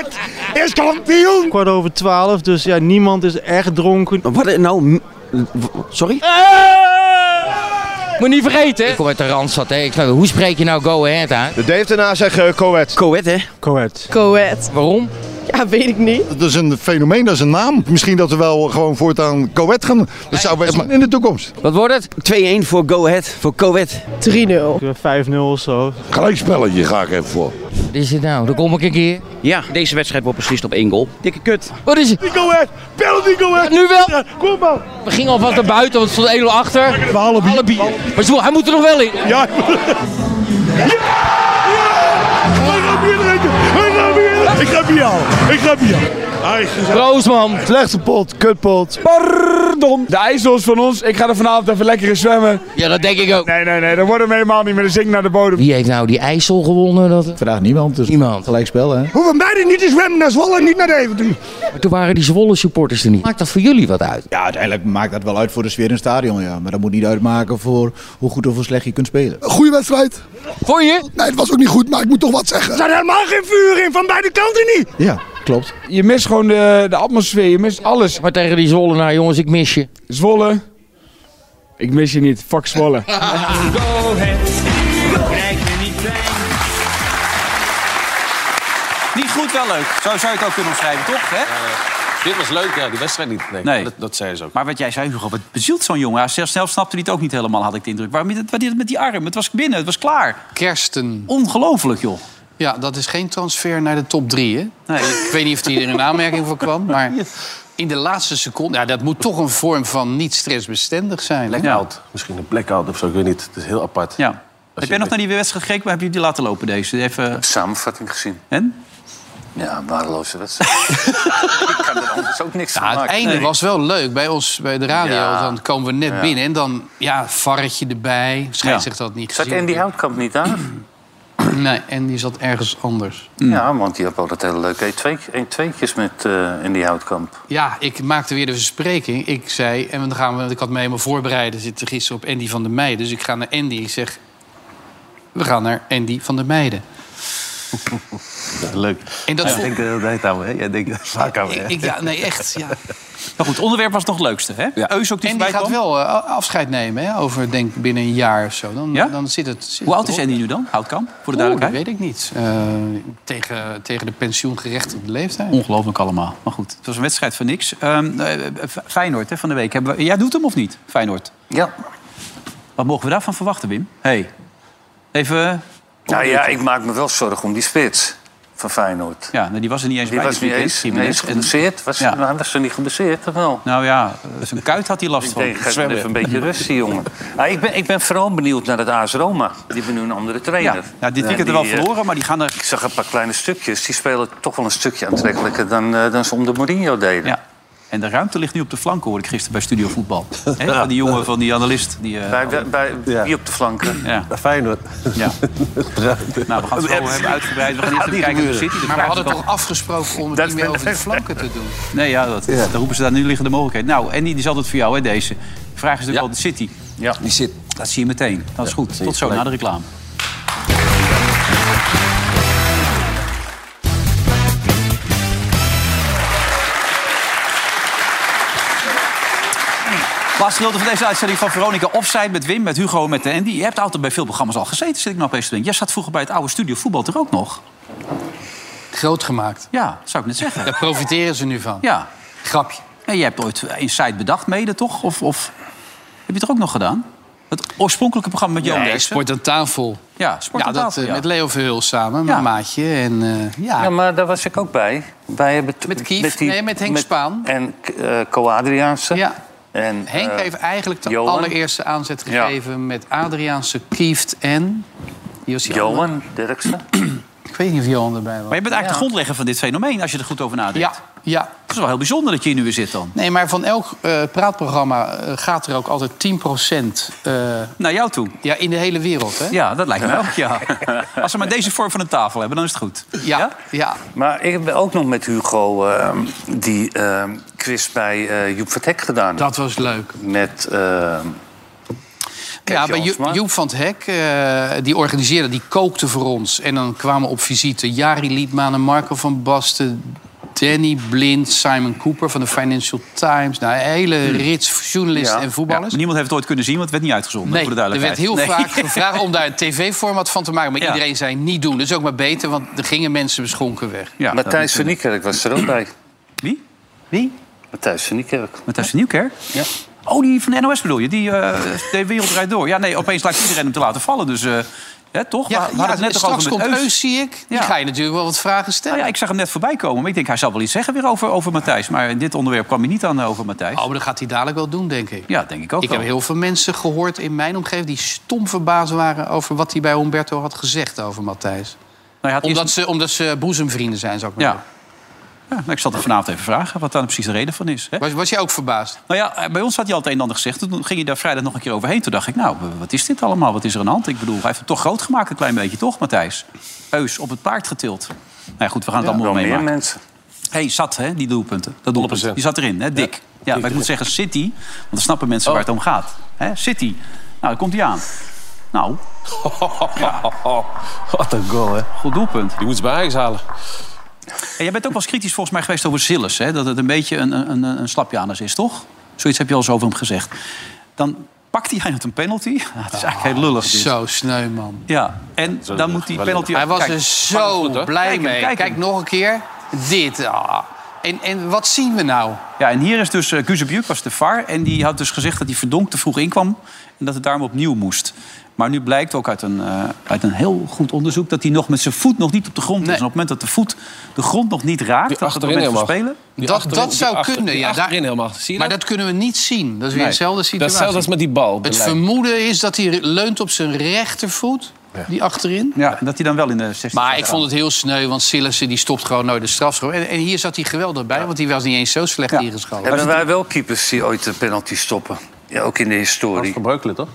is kampioen!
Kwart over twaalf, dus ja, niemand is echt dronken.
Wat nou? Sorry?
Moet niet vergeten, hè? Eh! Ik kom uit de Randstad, hè? Ik snap, hoe spreek je nou go ahead uit?
De Dave daarna zegt uh, Coët.
Coët, hè?
Coët.
Coët.
Waarom?
Ja, weet ik niet.
Dat is een fenomeen, dat is een naam. Misschien dat we wel gewoon voortaan Coët gaan. Dat zou best in de toekomst.
Wat wordt het?
2-1 voor Go Ahead, voor Coët.
3-0.
5-0 of zo.
Gelijkspelletje ga ik even voor.
Wat is dit nou? Dan kom ik een keer.
Ja, deze wedstrijd wordt beslist op één goal. Dikke kut.
Wat is het?
Die Go Ahead! Penalty Go Ahead!
Nu wel?
Kom maar!
We gingen alvast naar buiten, want het stond 1-0 achter. Walibi. Maar Zwolle, hij moet er nog wel in.
Ja! Hij gaat bier drinken! Hij gaat bier drinken! Ik heb hier al! Ik heb hier al! Hij is
Roosman.
Slechte pot, kutpot.
Pardon. De ijsel is van ons. Ik ga er vanavond even lekker in zwemmen.
Ja, dat denk ik ook.
Nee, nee, nee. Dan worden we helemaal niet meer. Dan zink ik naar de bodem.
Wie heeft nou die IJssel gewonnen? Dat...
Vandaag niemand, dus
Niemand.
gelijk spel hè.
Hoeven beiden niet te zwemmen naar Zwolle en niet naar Deventer.
Maar toen waren die Zwolle supporters er niet. Maakt dat voor jullie wat uit?
Ja, uiteindelijk maakt dat wel uit voor de sfeer in het stadion, ja. Maar dat moet niet uitmaken voor hoe goed of hoe slecht je kunt spelen.
Goeie wedstrijd.
Voor je?
Nee, het was ook niet goed, maar ik moet toch wat zeggen. Er zijn helemaal geen vuur in, van beide kanten niet.
Ja, klopt.
Je mist gewoon de, de atmosfeer. Je mist alles.
Maar tegen die Zwolle, nou jongens, ik mis je.
Zwolle. Ik mis je niet. Fuck Zwolle.
Go Ahead. Krijg je niet klein.
Niet goed, wel leuk. Zo zou je het ook kunnen omschrijven, toch? Hè?
Dit was leuk, ja, die wedstrijd niet. Nee,
Nee.
Dat, dat zeiden ze ook.
Maar wat jij zei, Hugo, wat bezielt zo'n jongen? Hij zelf, zelf snapte hij het ook niet helemaal, had ik de indruk. Waarom wat deed het met die arm? Het was binnen, het was klaar.
Kersten.
Ongelooflijk, joh.
Ja, dat is geen transfer naar de top 3, hè?
Nee,
Ik weet niet of hij er in aanmerking voor kwam, maar in de laatste seconde... Ja, dat moet toch een vorm van niet stressbestendig zijn. hè?
Blackout. Misschien een blackout of zo, ik weet niet. Het is heel apart.
ja. Heb jij
je-
nog naar die wedstrijd gekeken? Maar heb je die laten lopen, deze? Even...
Samenvatting gezien.
En?
Ja, een waardeloze wedstrijd. ik kan er anders ook niks van
Nou, het
maken.
einde
Nee.
was wel leuk bij ons, bij de radio.
Ja.
Dan komen we net
Ja.
binnen en dan, ja, varretje erbij. Schijnt zich dat niet
Zat
gezien.
Andy Houtkamp niet aan?
Nee, en die zat ergens anders.
Ja, want die had altijd hele leuke E 1-2'tjes met eh Andy Houtkamp.
Ja, ik maakte weer de verspreking. Ik zei, en dan gaan we, ik had me helemaal voorbereid. Ik zit gisteren op Andy van der Meijden. Dus ik ga naar Andy. Ik zeg, we gaan naar Andy van der Meijden.
Leuk. eh,
En dat
Jij
vond-
denkt de hele tijd aan me, hè? Jij denkt dat vaak aan me, hè?
Ik, ja, nee, echt. Ja. Dus
Maar goed, het onderwerp was nog het leukste, hè?
Ja.
Eus ook die
Andy
voorbij kwam.
gaat wel eh, afscheid nemen, hè, over denk binnen een jaar of zo. Dan,
Ja?
dan zit het. zit
Hoe
het
oud is
erop.
Andy nu dan? Houtkamp, voor de
Oeh, dat
duidelijkheid.
weet ik niet. Eh, tegen, tegen de pensioengerechtigde leeftijd.
Ongelooflijk allemaal. Maar goed, het was een wedstrijd voor niks. Ehm, eh, F- Feyenoord hè, van de week. Hebben we- Jij doet hem of niet, Feyenoord?
Ja.
Wat mogen we daarvan verwachten, Wim? Hey. Even... eh,
Nou ja, ik maak me wel zorgen om die spits van Feyenoord.
Ja, nou, die was er niet eens
Die
bij.
was
dit
niet
weekend,
eens, niet
Jiménez.
eens
En-
geblesseerd. Was,
Ja.
was ze niet geblesseerd of wel?
Nou ja, zijn kuit had hij last
Ik
van.
denk, geef me even een beetje rust, die jongen. Ah, ik, ben, ik ben vooral benieuwd naar het AS Roma. Die hebben nu een andere trainer.
Ja, nou, dit weekend er
die,
wel
eh,
verloren, maar die gaan er...
Ik zag een paar kleine stukjes. Die spelen toch wel een stukje aantrekkelijker dan, eh, dan ze onder Mourinho deden.
Ja. En de ruimte ligt nu op de flanken, hoorde ik gisteren bij Studio Voetbal. Hè, Van die jongen, van die analist. Die, eh,
Bij, bij, bij-
Ja.
Wie op de flanken?
ja.
Feyenoord.
Ja. Nou, we gaan het zo hebben uitgebreid. We gaan eerst even kijken naar de City. De
Maar we
vraag is
hadden
dan-
toch afgesproken om het niet meer over de flanken te doen?
Nee, ja, dat, daar roepen ze daar nu liggen de mogelijkheid. Nou, en die is altijd voor jou, hè, deze. De vraag is natuurlijk wel de City.
Ja.
Die zit.
Dat zie je meteen. Dat is goed. Tot zo, na de reclame. Laatste gedeelte van deze uitzending van Veronica Offside met Wim, met Hugo, met Andy. Je hebt altijd bij veel programma's al gezeten, zit ik nou opeens te denken. Jij zat vroeger bij het oude studio voetbal er ook nog.
Groot gemaakt.
Ja, zou ik net zeggen.
Daar profiteren ze nu van.
Ja.
Grapje.
En jij hebt ooit Inside bedacht mede, toch? Of, of heb je het er ook nog gedaan? Het oorspronkelijke programma met Johan
Nee,
Derksen.
sport aan tafel.
Ja, sport
ja,
aan
dat,
tafel,
eh,
ja.
Met Leo Verhulst samen, mijn maatje. En, eh, ja.
Ja, maar daar was ik ook bij. Wij hebben t-
Met Kief?
die-
Nee, met Henk Spaan.
En eh Co Adriaanse.
Ja.
En,
Henk
eh,
heeft eigenlijk de
Johan.
allereerste aanzet gegeven met Adriaanse Kieft en... Wie was die
Johan
andere?
Derksen.
Ik weet niet of Johan erbij was.
Maar je bent eigenlijk
Ja.
de grondlegger van dit fenomeen, als je er goed over nadenkt.
Ja, ja.
Het is wel heel bijzonder dat je hier nu weer zit dan.
Nee, maar van elk eh, praatprogramma eh, gaat er ook altijd 10
Naar jou toe?
Ja, in de hele wereld, hè?
Ja, dat lijkt me ook, ja. Als we maar deze vorm van een tafel hebben, dan is het goed.
Ja, ja.
Maar ik heb ook nog met Hugo ehm, die ehm, quiz bij eh, Joep Vertek gedaan. Dat
was leuk.
Met... ehm,
Ja, bij Jo- Joep van het Hek, eh, die organiseerde, die kookte voor ons. En dan kwamen op visite Jari Liedman en Marco van Basten... Danny Blind, Simon Cooper van de Financial Times. Nou, een hele rits journalisten en voetballers.
Hmm. Ja, niemand heeft het ooit kunnen zien, want het werd niet uitgezonden.
Nee,
voor de
er werd
duidelijkheid.
heel
Nee.
vaak gevraagd om daar een tv-format van te maken. Maar iedereen zei niet doen. Dat is ook maar beter, want er gingen mensen beschonken weg.
Matthijs van Niekerk was er ook bij.
Wie?
Wie? Matthijs van Niekerk.
Matthijs van Nieuwkerk? Ja. Oh, die van de NOS bedoel je? Die eh de wereld draait door. Ja, nee, opeens lijkt iedereen hem te laten vallen. Dus eh, hè, toch?
Ja,
hadden het
ja, straks
met
komt Eus, zie ik. Die ga je natuurlijk wel wat vragen stellen.
Nou ja, ik zag hem net voorbij komen. Maar ik denk, hij zal wel iets zeggen weer over, over Matthijs. Maar in dit onderwerp kwam hij niet aan eh, over Matthijs.
Oh, maar dat gaat hij dadelijk wel doen, denk ik.
Ja, denk ik ook
Ik
wel.
heb heel veel mensen gehoord in mijn omgeving... die stom verbaasd waren over wat hij bij Humberto had gezegd over Matthijs.
Nou,
Omdat, ze, omdat ze boezemvrienden zijn, zou ik maar
Ja. ja nou, ik zal het vanavond even vragen wat daar nou precies de reden van is. Hè?
Was, was je ook verbaasd?
Nou ja, eh, bij ons had hij al het een en ander gezegd. Toen ging hij daar vrijdag nog een keer overheen. Toen dacht ik, nou, w- wat is dit allemaal? Wat is er aan de hand? Ik bedoel, hij heeft het toch groot gemaakt een klein beetje, toch, Matthijs? Heus, op het paard getild. Nou ja, goed, we gaan het allemaal
Wel meer
meemaken.
mensen.
hey, zat, hè, die doelpunten. Dat doelpunt. Die zat erin, hè, dik. Ja, maar ik moet zeggen City, want dan snappen mensen waar het om gaat. Hè, City. Nou, daar komt hij aan. Nou.
Wat een goal, hè?
Goed doelpunt.
Die moet ze bij Ajax halen.
En jij bent ook wel eens kritisch volgens mij geweest over Zillis. Hè? Dat het een beetje een, een, een- een slapjanus is, toch? Zoiets heb je al eens over hem gezegd. Dan pakt hij het een penalty. Nou, dat is eigenlijk heel lullig. dit.
Zo sneu, man.
Ja, en dan moet die penalty...
Hij was
Kijk,
er
maar dat
zo
is goed, hoor.
blij
Kijk hem,
mee. Kijk,
kijk hem.
nog een keer. Dit. ah. En, en wat zien we nou?
Ja, en hier is dus... eh Guzebjuk was de VAR. En die had dus gezegd dat hij verdonk te vroeg inkwam. En dat het daarom opnieuw moest. Maar nu blijkt ook uit een, eh, uit een heel goed onderzoek... dat hij nog met zijn voet nog niet op de grond is. En op het moment dat de voet de grond nog niet raakt...
Die
dat op het
achterin
moment van
helemaal.
spelen...
Die
dat,
achterin-
dat zou
die achter-
kunnen,
die
ja. daar-
achterin helemaal. Zie je
maar
dat?
dat kunnen we niet zien. Dat is weer
Nee.
dezelfde
Dat is
situatie.
hetzelfde als met die bal op de
Het
lijn.
vermoeden is dat hij leunt op zijn rechtervoet, die achterin.
Ja, en dat hij dan wel in de 16
Maar ik vond het heel sneu, want Sillissen die stopt gewoon nooit de strafschop. En, en hier zat hij geweldig bij, want die was niet eens zo slecht ingeschoten.
Hebben wij wel keepers die ooit de penalty stoppen? Ja, ook in de historie.
Van Breukelen, toch?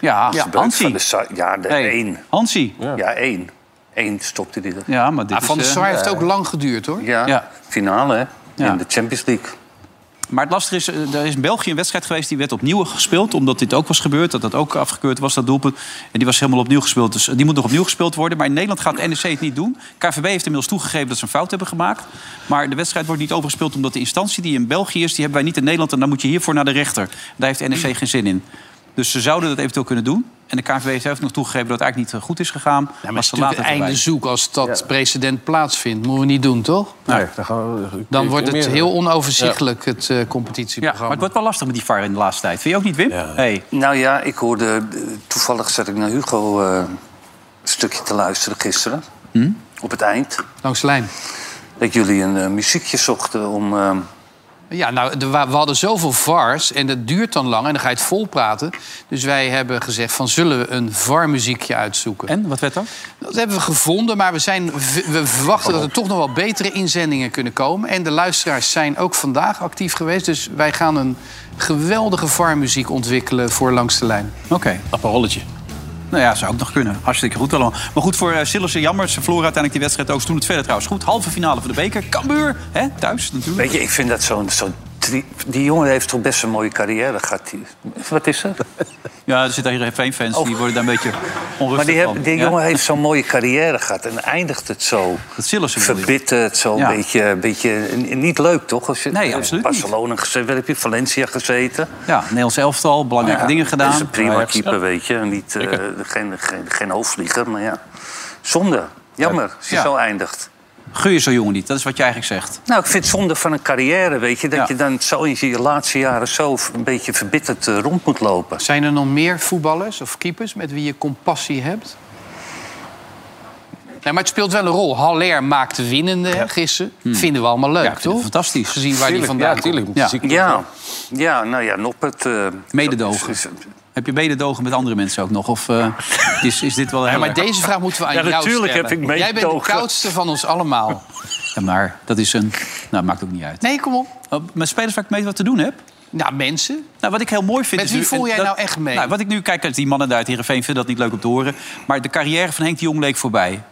Ja,
Hans
Hansie.
Van de Sa- ja, de
Nee,
één.
Hansie.
Ja, ja één. Eén stopte die er.
Ja, maar dit
Ah, van
is,
der
eh,
Sar heeft ook lang geduurd, hoor.
Ja, finale hè?
Ja.
in de Champions League.
Maar het lastige is, eh, er is in België een wedstrijd geweest... die werd opnieuw gespeeld, omdat dit ook was gebeurd. Dat dat ook afgekeurd was, dat doelpunt. En die was helemaal opnieuw gespeeld. Dus eh, die moet nog opnieuw gespeeld worden. Maar in Nederland gaat NEC het niet doen. KVB heeft inmiddels toegegeven dat ze een fout hebben gemaakt. Maar de wedstrijd wordt niet overgespeeld... omdat de instantie die in België is, die hebben wij niet in Nederland. En dan moet je hiervoor naar de rechter. Daar heeft NEC geen zin in. Dus ze zouden dat eventueel kunnen doen. En de KVB heeft zelf nog toegegeven dat het eigenlijk niet eh, goed is gegaan.
Ja,
maar
maar het
ze
is natuurlijk
laten het
het
erbij.
einde zoek als dat precedent plaatsvindt. Moeten we niet doen, toch?
Nee, dan, gaan we,
Dan wordt het heel onoverzichtelijk, het eh, competitieprogramma.
Maar het wordt wel lastig met die VAR in de laatste tijd. Vind je ook niet, Wim? Hey.
Nou ja, ik hoorde... eh, Toevallig zat ik naar Hugo eh, een stukje te luisteren gisteren.
Hm?
Op het eind.
Langs de lijn.
Dat jullie een eh, muziekje zochten om... eh,
Ja, nou, de- wa- we hadden zoveel VARs en dat duurt dan lang en dan ga je het volpraten. Dus wij hebben gezegd van zullen we een VAR-muziekje uitzoeken.
En, wat werd dat?
Dat hebben we gevonden, maar we, zijn, v- we verwachten dat er toch nog wel betere inzendingen kunnen komen. En de luisteraars zijn ook vandaag actief geweest. Dus wij gaan een geweldige VAR-muziek ontwikkelen voor Langs de Lijn.
Oké.
Apparolletje.
Nou ja, zou ook nog kunnen. Hartstikke goed allemaal. Maar goed, voor eh, Sillissen, jammer. Ze verloren uiteindelijk die wedstrijd ook. Ze doen het verder trouwens goed. Halve finale van de beker. Cambuur, hè, thuis natuurlijk.
Weet je, ik vind dat zo'n zo'n die, die jongen heeft toch best een mooie carrière gehad. Die- wat is er?
Ja, er zitten hier geen fans die worden daar een beetje onrustig
Oh. maar die,
van.
heb- die
Ja.
jongen heeft zo'n mooie carrière gehad en eindigt het zo.
Dat Sillissen bedoel je?
Verbitterd, zo'n
Ja.
beetje, een beetje. n- Niet leuk toch? Als je,
Nee, absoluut niet.
Barcelona gezeten, waar heb je Valencia gezeten?
Ja, Nederlands elftal, belangrijke
Ja,
dingen gedaan.
Dat is een prima
Ajax.
keeper, weet je. Niet, eh, geen, geen, geen hoofdvlieger, maar ja. Zonde. Jammer, als je
Ja.
zo eindigt.
Gun je zo'n jongen niet, dat is wat je eigenlijk zegt.
Nou, ik vind het zonde van een carrière, weet je. Dat je dan zo in je laatste jaren zo een beetje verbitterd eh, rond moet lopen.
Zijn er nog meer voetballers of keepers met wie je compassie hebt? Nee, maar het speelt wel een rol. Haller maakt winnende hè, gisteren.
Hm.
Vinden we allemaal leuk, toch? Fantastisch. Gezien waar die
Tuurlijk,
vandaan
ja, tuurlijk.
komt.
Ja. Ja. ja, nou ja, Noppert... eh
Mededogen. Heb je mededogen met andere mensen ook nog? Of eh, is, is dit wel heel
Ja, maar
erg-
deze vraag moeten we aan
Ja,
jou
natuurlijk
stellen.
heb ik
Jij bent de
meedogen.
koudste van ons allemaal.
Ja, maar dat is een... Nou, maakt ook niet uit.
Nee, kom op.
Oh, Met spelers waar ik mee wat te doen heb?
Nou, mensen.
Nou, wat ik heel mooi vind...
Met
is
wie
nu-
voel
en
jij nou echt mee?
Nou, wat ik nu kijk, die mannen daar uit Heerenveen vinden dat niet leuk om te horen. Maar de carrière van Henk de Jong leek voorbij.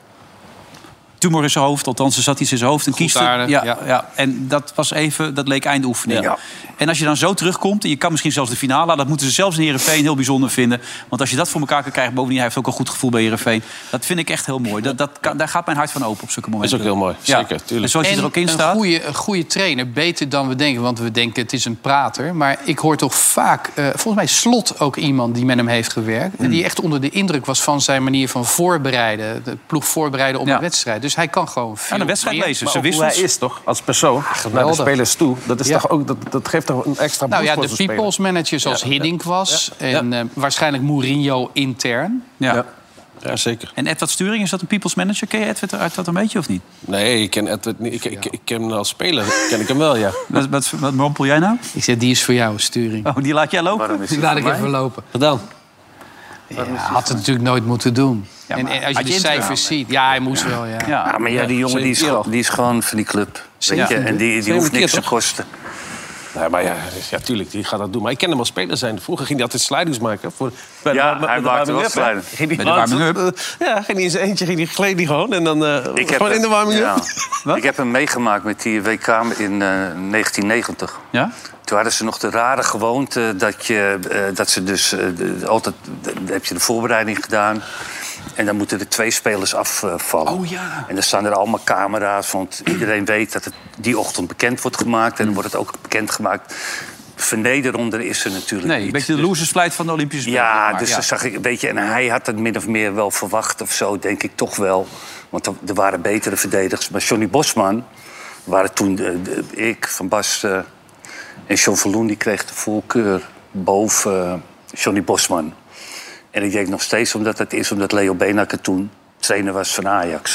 Tumor in zijn hoofd, althans er zat iets in zijn hoofd. Een kieste,
aardig,
ja,
ja.
ja. En dat was even, dat leek eindoefening.
Ja.
En als je dan zo terugkomt, en je kan misschien zelfs de finale... dat moeten ze zelfs in Heerenveen heel bijzonder vinden. Want als je dat voor elkaar kan krijgen, bovendien... hij heeft ook een goed gevoel bij Heerenveen. Dat vind ik echt heel mooi. Dat, dat kan, daar gaat mijn hart van open op zulke momenten.
is ook heel mooi,
Ja.
zeker, tuurlijk.
En zoals je
En
er ook in
Een
staat...
goede, een goede trainer, beter dan we denken. Want we denken het is een prater. Maar ik hoor toch vaak, eh, volgens mij Slot ook iemand die met hem heeft gewerkt.
Hmm.
en Die echt onder de indruk was van zijn manier van voorbereiden. De ploeg voorbereiden op een wedstrijd. Dus hij kan gewoon veel.
de wedstrijd
meer.
lezen,
Maar
ze
ook
wisten
hoe
Hij is toch, als persoon, naar de
geweldig.
spelers toe. Dat, is
Ja.
toch ook, dat, dat geeft toch een extra
Nou
boost
ja,
voor
de
zo'n speler.
people's manager zoals Hiddink was. En eh, waarschijnlijk Mourinho intern.
Ja. Ja.
zeker.
En Edward Sturing, is dat een people's manager? Ken je Edward uit dat een beetje of niet?
Nee, ik ken Edward niet. Ik, ik, ik ken hem als speler. ken ik hem wel, ja.
Wat, wat, wat mompel jij nou?
Ik zeg, die is voor jou, Sturing.
Oh, die laat jij lopen?
Waarom is
Die laat ik even lopen.
Gedaan.
Ja, had het natuurlijk nooit moeten doen. en, en als je
had
de
je interesse?
cijfers ziet, ja, hij moest wel, ja.
Ja, maar ja, die jongen die is,
Zeker.
gewoon- die is gewoon van die club. Weet je?
Zeker.
En die, die hoeft niks te kosten.
Nee, maar ja, ja, tuurlijk, die gaat dat doen. Maar ik ken hem als speler zijn. Vroeger ging hij altijd slidings maken. Voor, bij
Ja,
bij- bij
hij
de
maakte wel
warming-up, hè.
slidings.
Ging die
Bij de
maakte-
warming-up.
Ja, ging hij in zijn eentje, ging die, gleed die gewoon. En dan eh, gewoon in de warming-up.
ja. Ik heb hem meegemaakt met die WK in eh, 1990.
Ja?
Toen hadden ze nog de rare gewoonte dat, je, eh, dat ze dus eh, de- altijd... dan heb je de voorbereiding gedaan... En dan moeten er twee spelers afvallen.
Oh ja.
En dan staan er allemaal camera's, want iedereen weet dat het die ochtend bekend wordt gemaakt. En dan wordt het ook bekend gemaakt. Vernederonder is er natuurlijk
Nee,
niet.
een beetje de losers flight van de Olympische Spelen.
Ja,
zeg maar.
dus dan zag ik een beetje... En hij had het min of meer wel verwacht of zo, denk ik toch wel. Want er- er waren betere verdedigers. Maar Johnny Bosman, waren toen de- de- ik, Van Bas eh, en John Verloen... die kreeg de voorkeur boven eh, Johnny Bosman. En ik denk nog steeds omdat dat is omdat Leo Benakker toen trainer was van Ajax.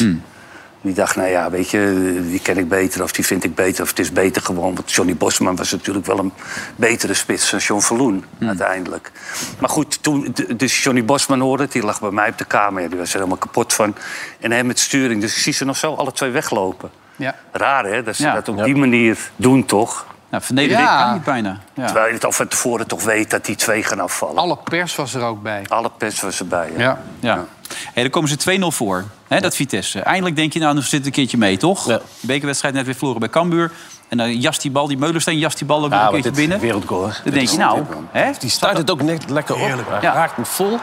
Die dacht, nou ja, weet je, die ken ik beter of die vind ik beter... of het is beter gewoon, want Johnny Bosman was natuurlijk wel een betere spits... dan John Verloen, uiteindelijk. Maar goed, toen, d- dus Johnny Bosman hoorde het, die lag bij mij op de kamer... Ja, die was er helemaal kapot van. En hij met sturing, dus ik zie ze nog zo alle twee weglopen.
Ja.
Raar, hè, dat ze
Ja.
dat op die manier doen, toch?
Nou, vernedering
Ja.
kan niet bijna. Ja.
Terwijl je het al van tevoren toch weet dat die twee gaan afvallen.
Alle pers was er ook bij.
Alle pers was erbij, hè?
Ja.
Ja. Hey, dan komen ze 2-0 voor, hè, dat Vitesse. Eindelijk denk je, nou, dan zit het een keertje mee, toch? Bekerwedstrijd net weer verloren bij Cambuur. En dan jast die bal, die Meulensteen jast die bal ook nog een keertje binnen.
Wereldgoal, hè?
Dan denk je, nou, hè?
Die start het ook net lekker op. Hij
Ja.
raakt hem vol.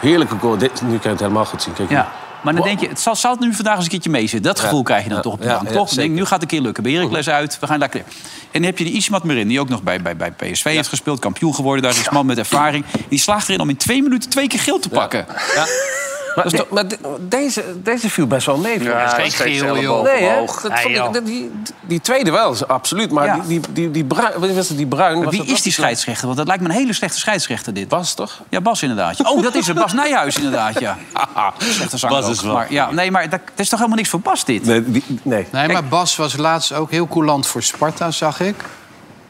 Heerlijke goal. Dit, nu kan je het helemaal goed zien. Kijk
Ja. Maar dan denk je, het zal, zal het nu vandaag eens een keertje meezitten. Dat gevoel
Ja.
krijg je dan
Ja.
toch op de
Ja,
bank,
ja,
toch? Dan denk
zeker.
je, nu gaat het een keer lukken. Bij Heracles uit, we gaan lekker. En dan heb je die Ismat Marin, die ook nog bij, bij, bij PSV heeft gespeeld. Kampioen geworden, daar is een man met ervaring. Die slaagt erin om in twee minuten twee keer geel te pakken.
Maar, toch- maar de- deze, deze viel best wel mee.
Ja,
geen steeds geel, elleboog joh.
Nee, hè?
omhoog.
Dat
Nee,
vond ik-
joh.
dat- die, die tweede wel, absoluut. Maar
Ja.
die, die, die, die, bruin, wat was het, die bruin...
Maar
was
wie
dat
is
ook?
die scheidsrechter? Want dat lijkt me een hele slechte scheidsrechter, dit.
Bas, toch?
Ja, Bas inderdaad. Ja. Oh, dat is het. Bas Nijhuis inderdaad, ja. Slechte zanger
Bas is
ook.
wel-
Maar, ja, nee, maar dat, dat is toch helemaal niks voor Bas, dit?
Nee, die, nee.
Nee, maar Bas was laatst ook heel coulant voor Sparta, zag ik.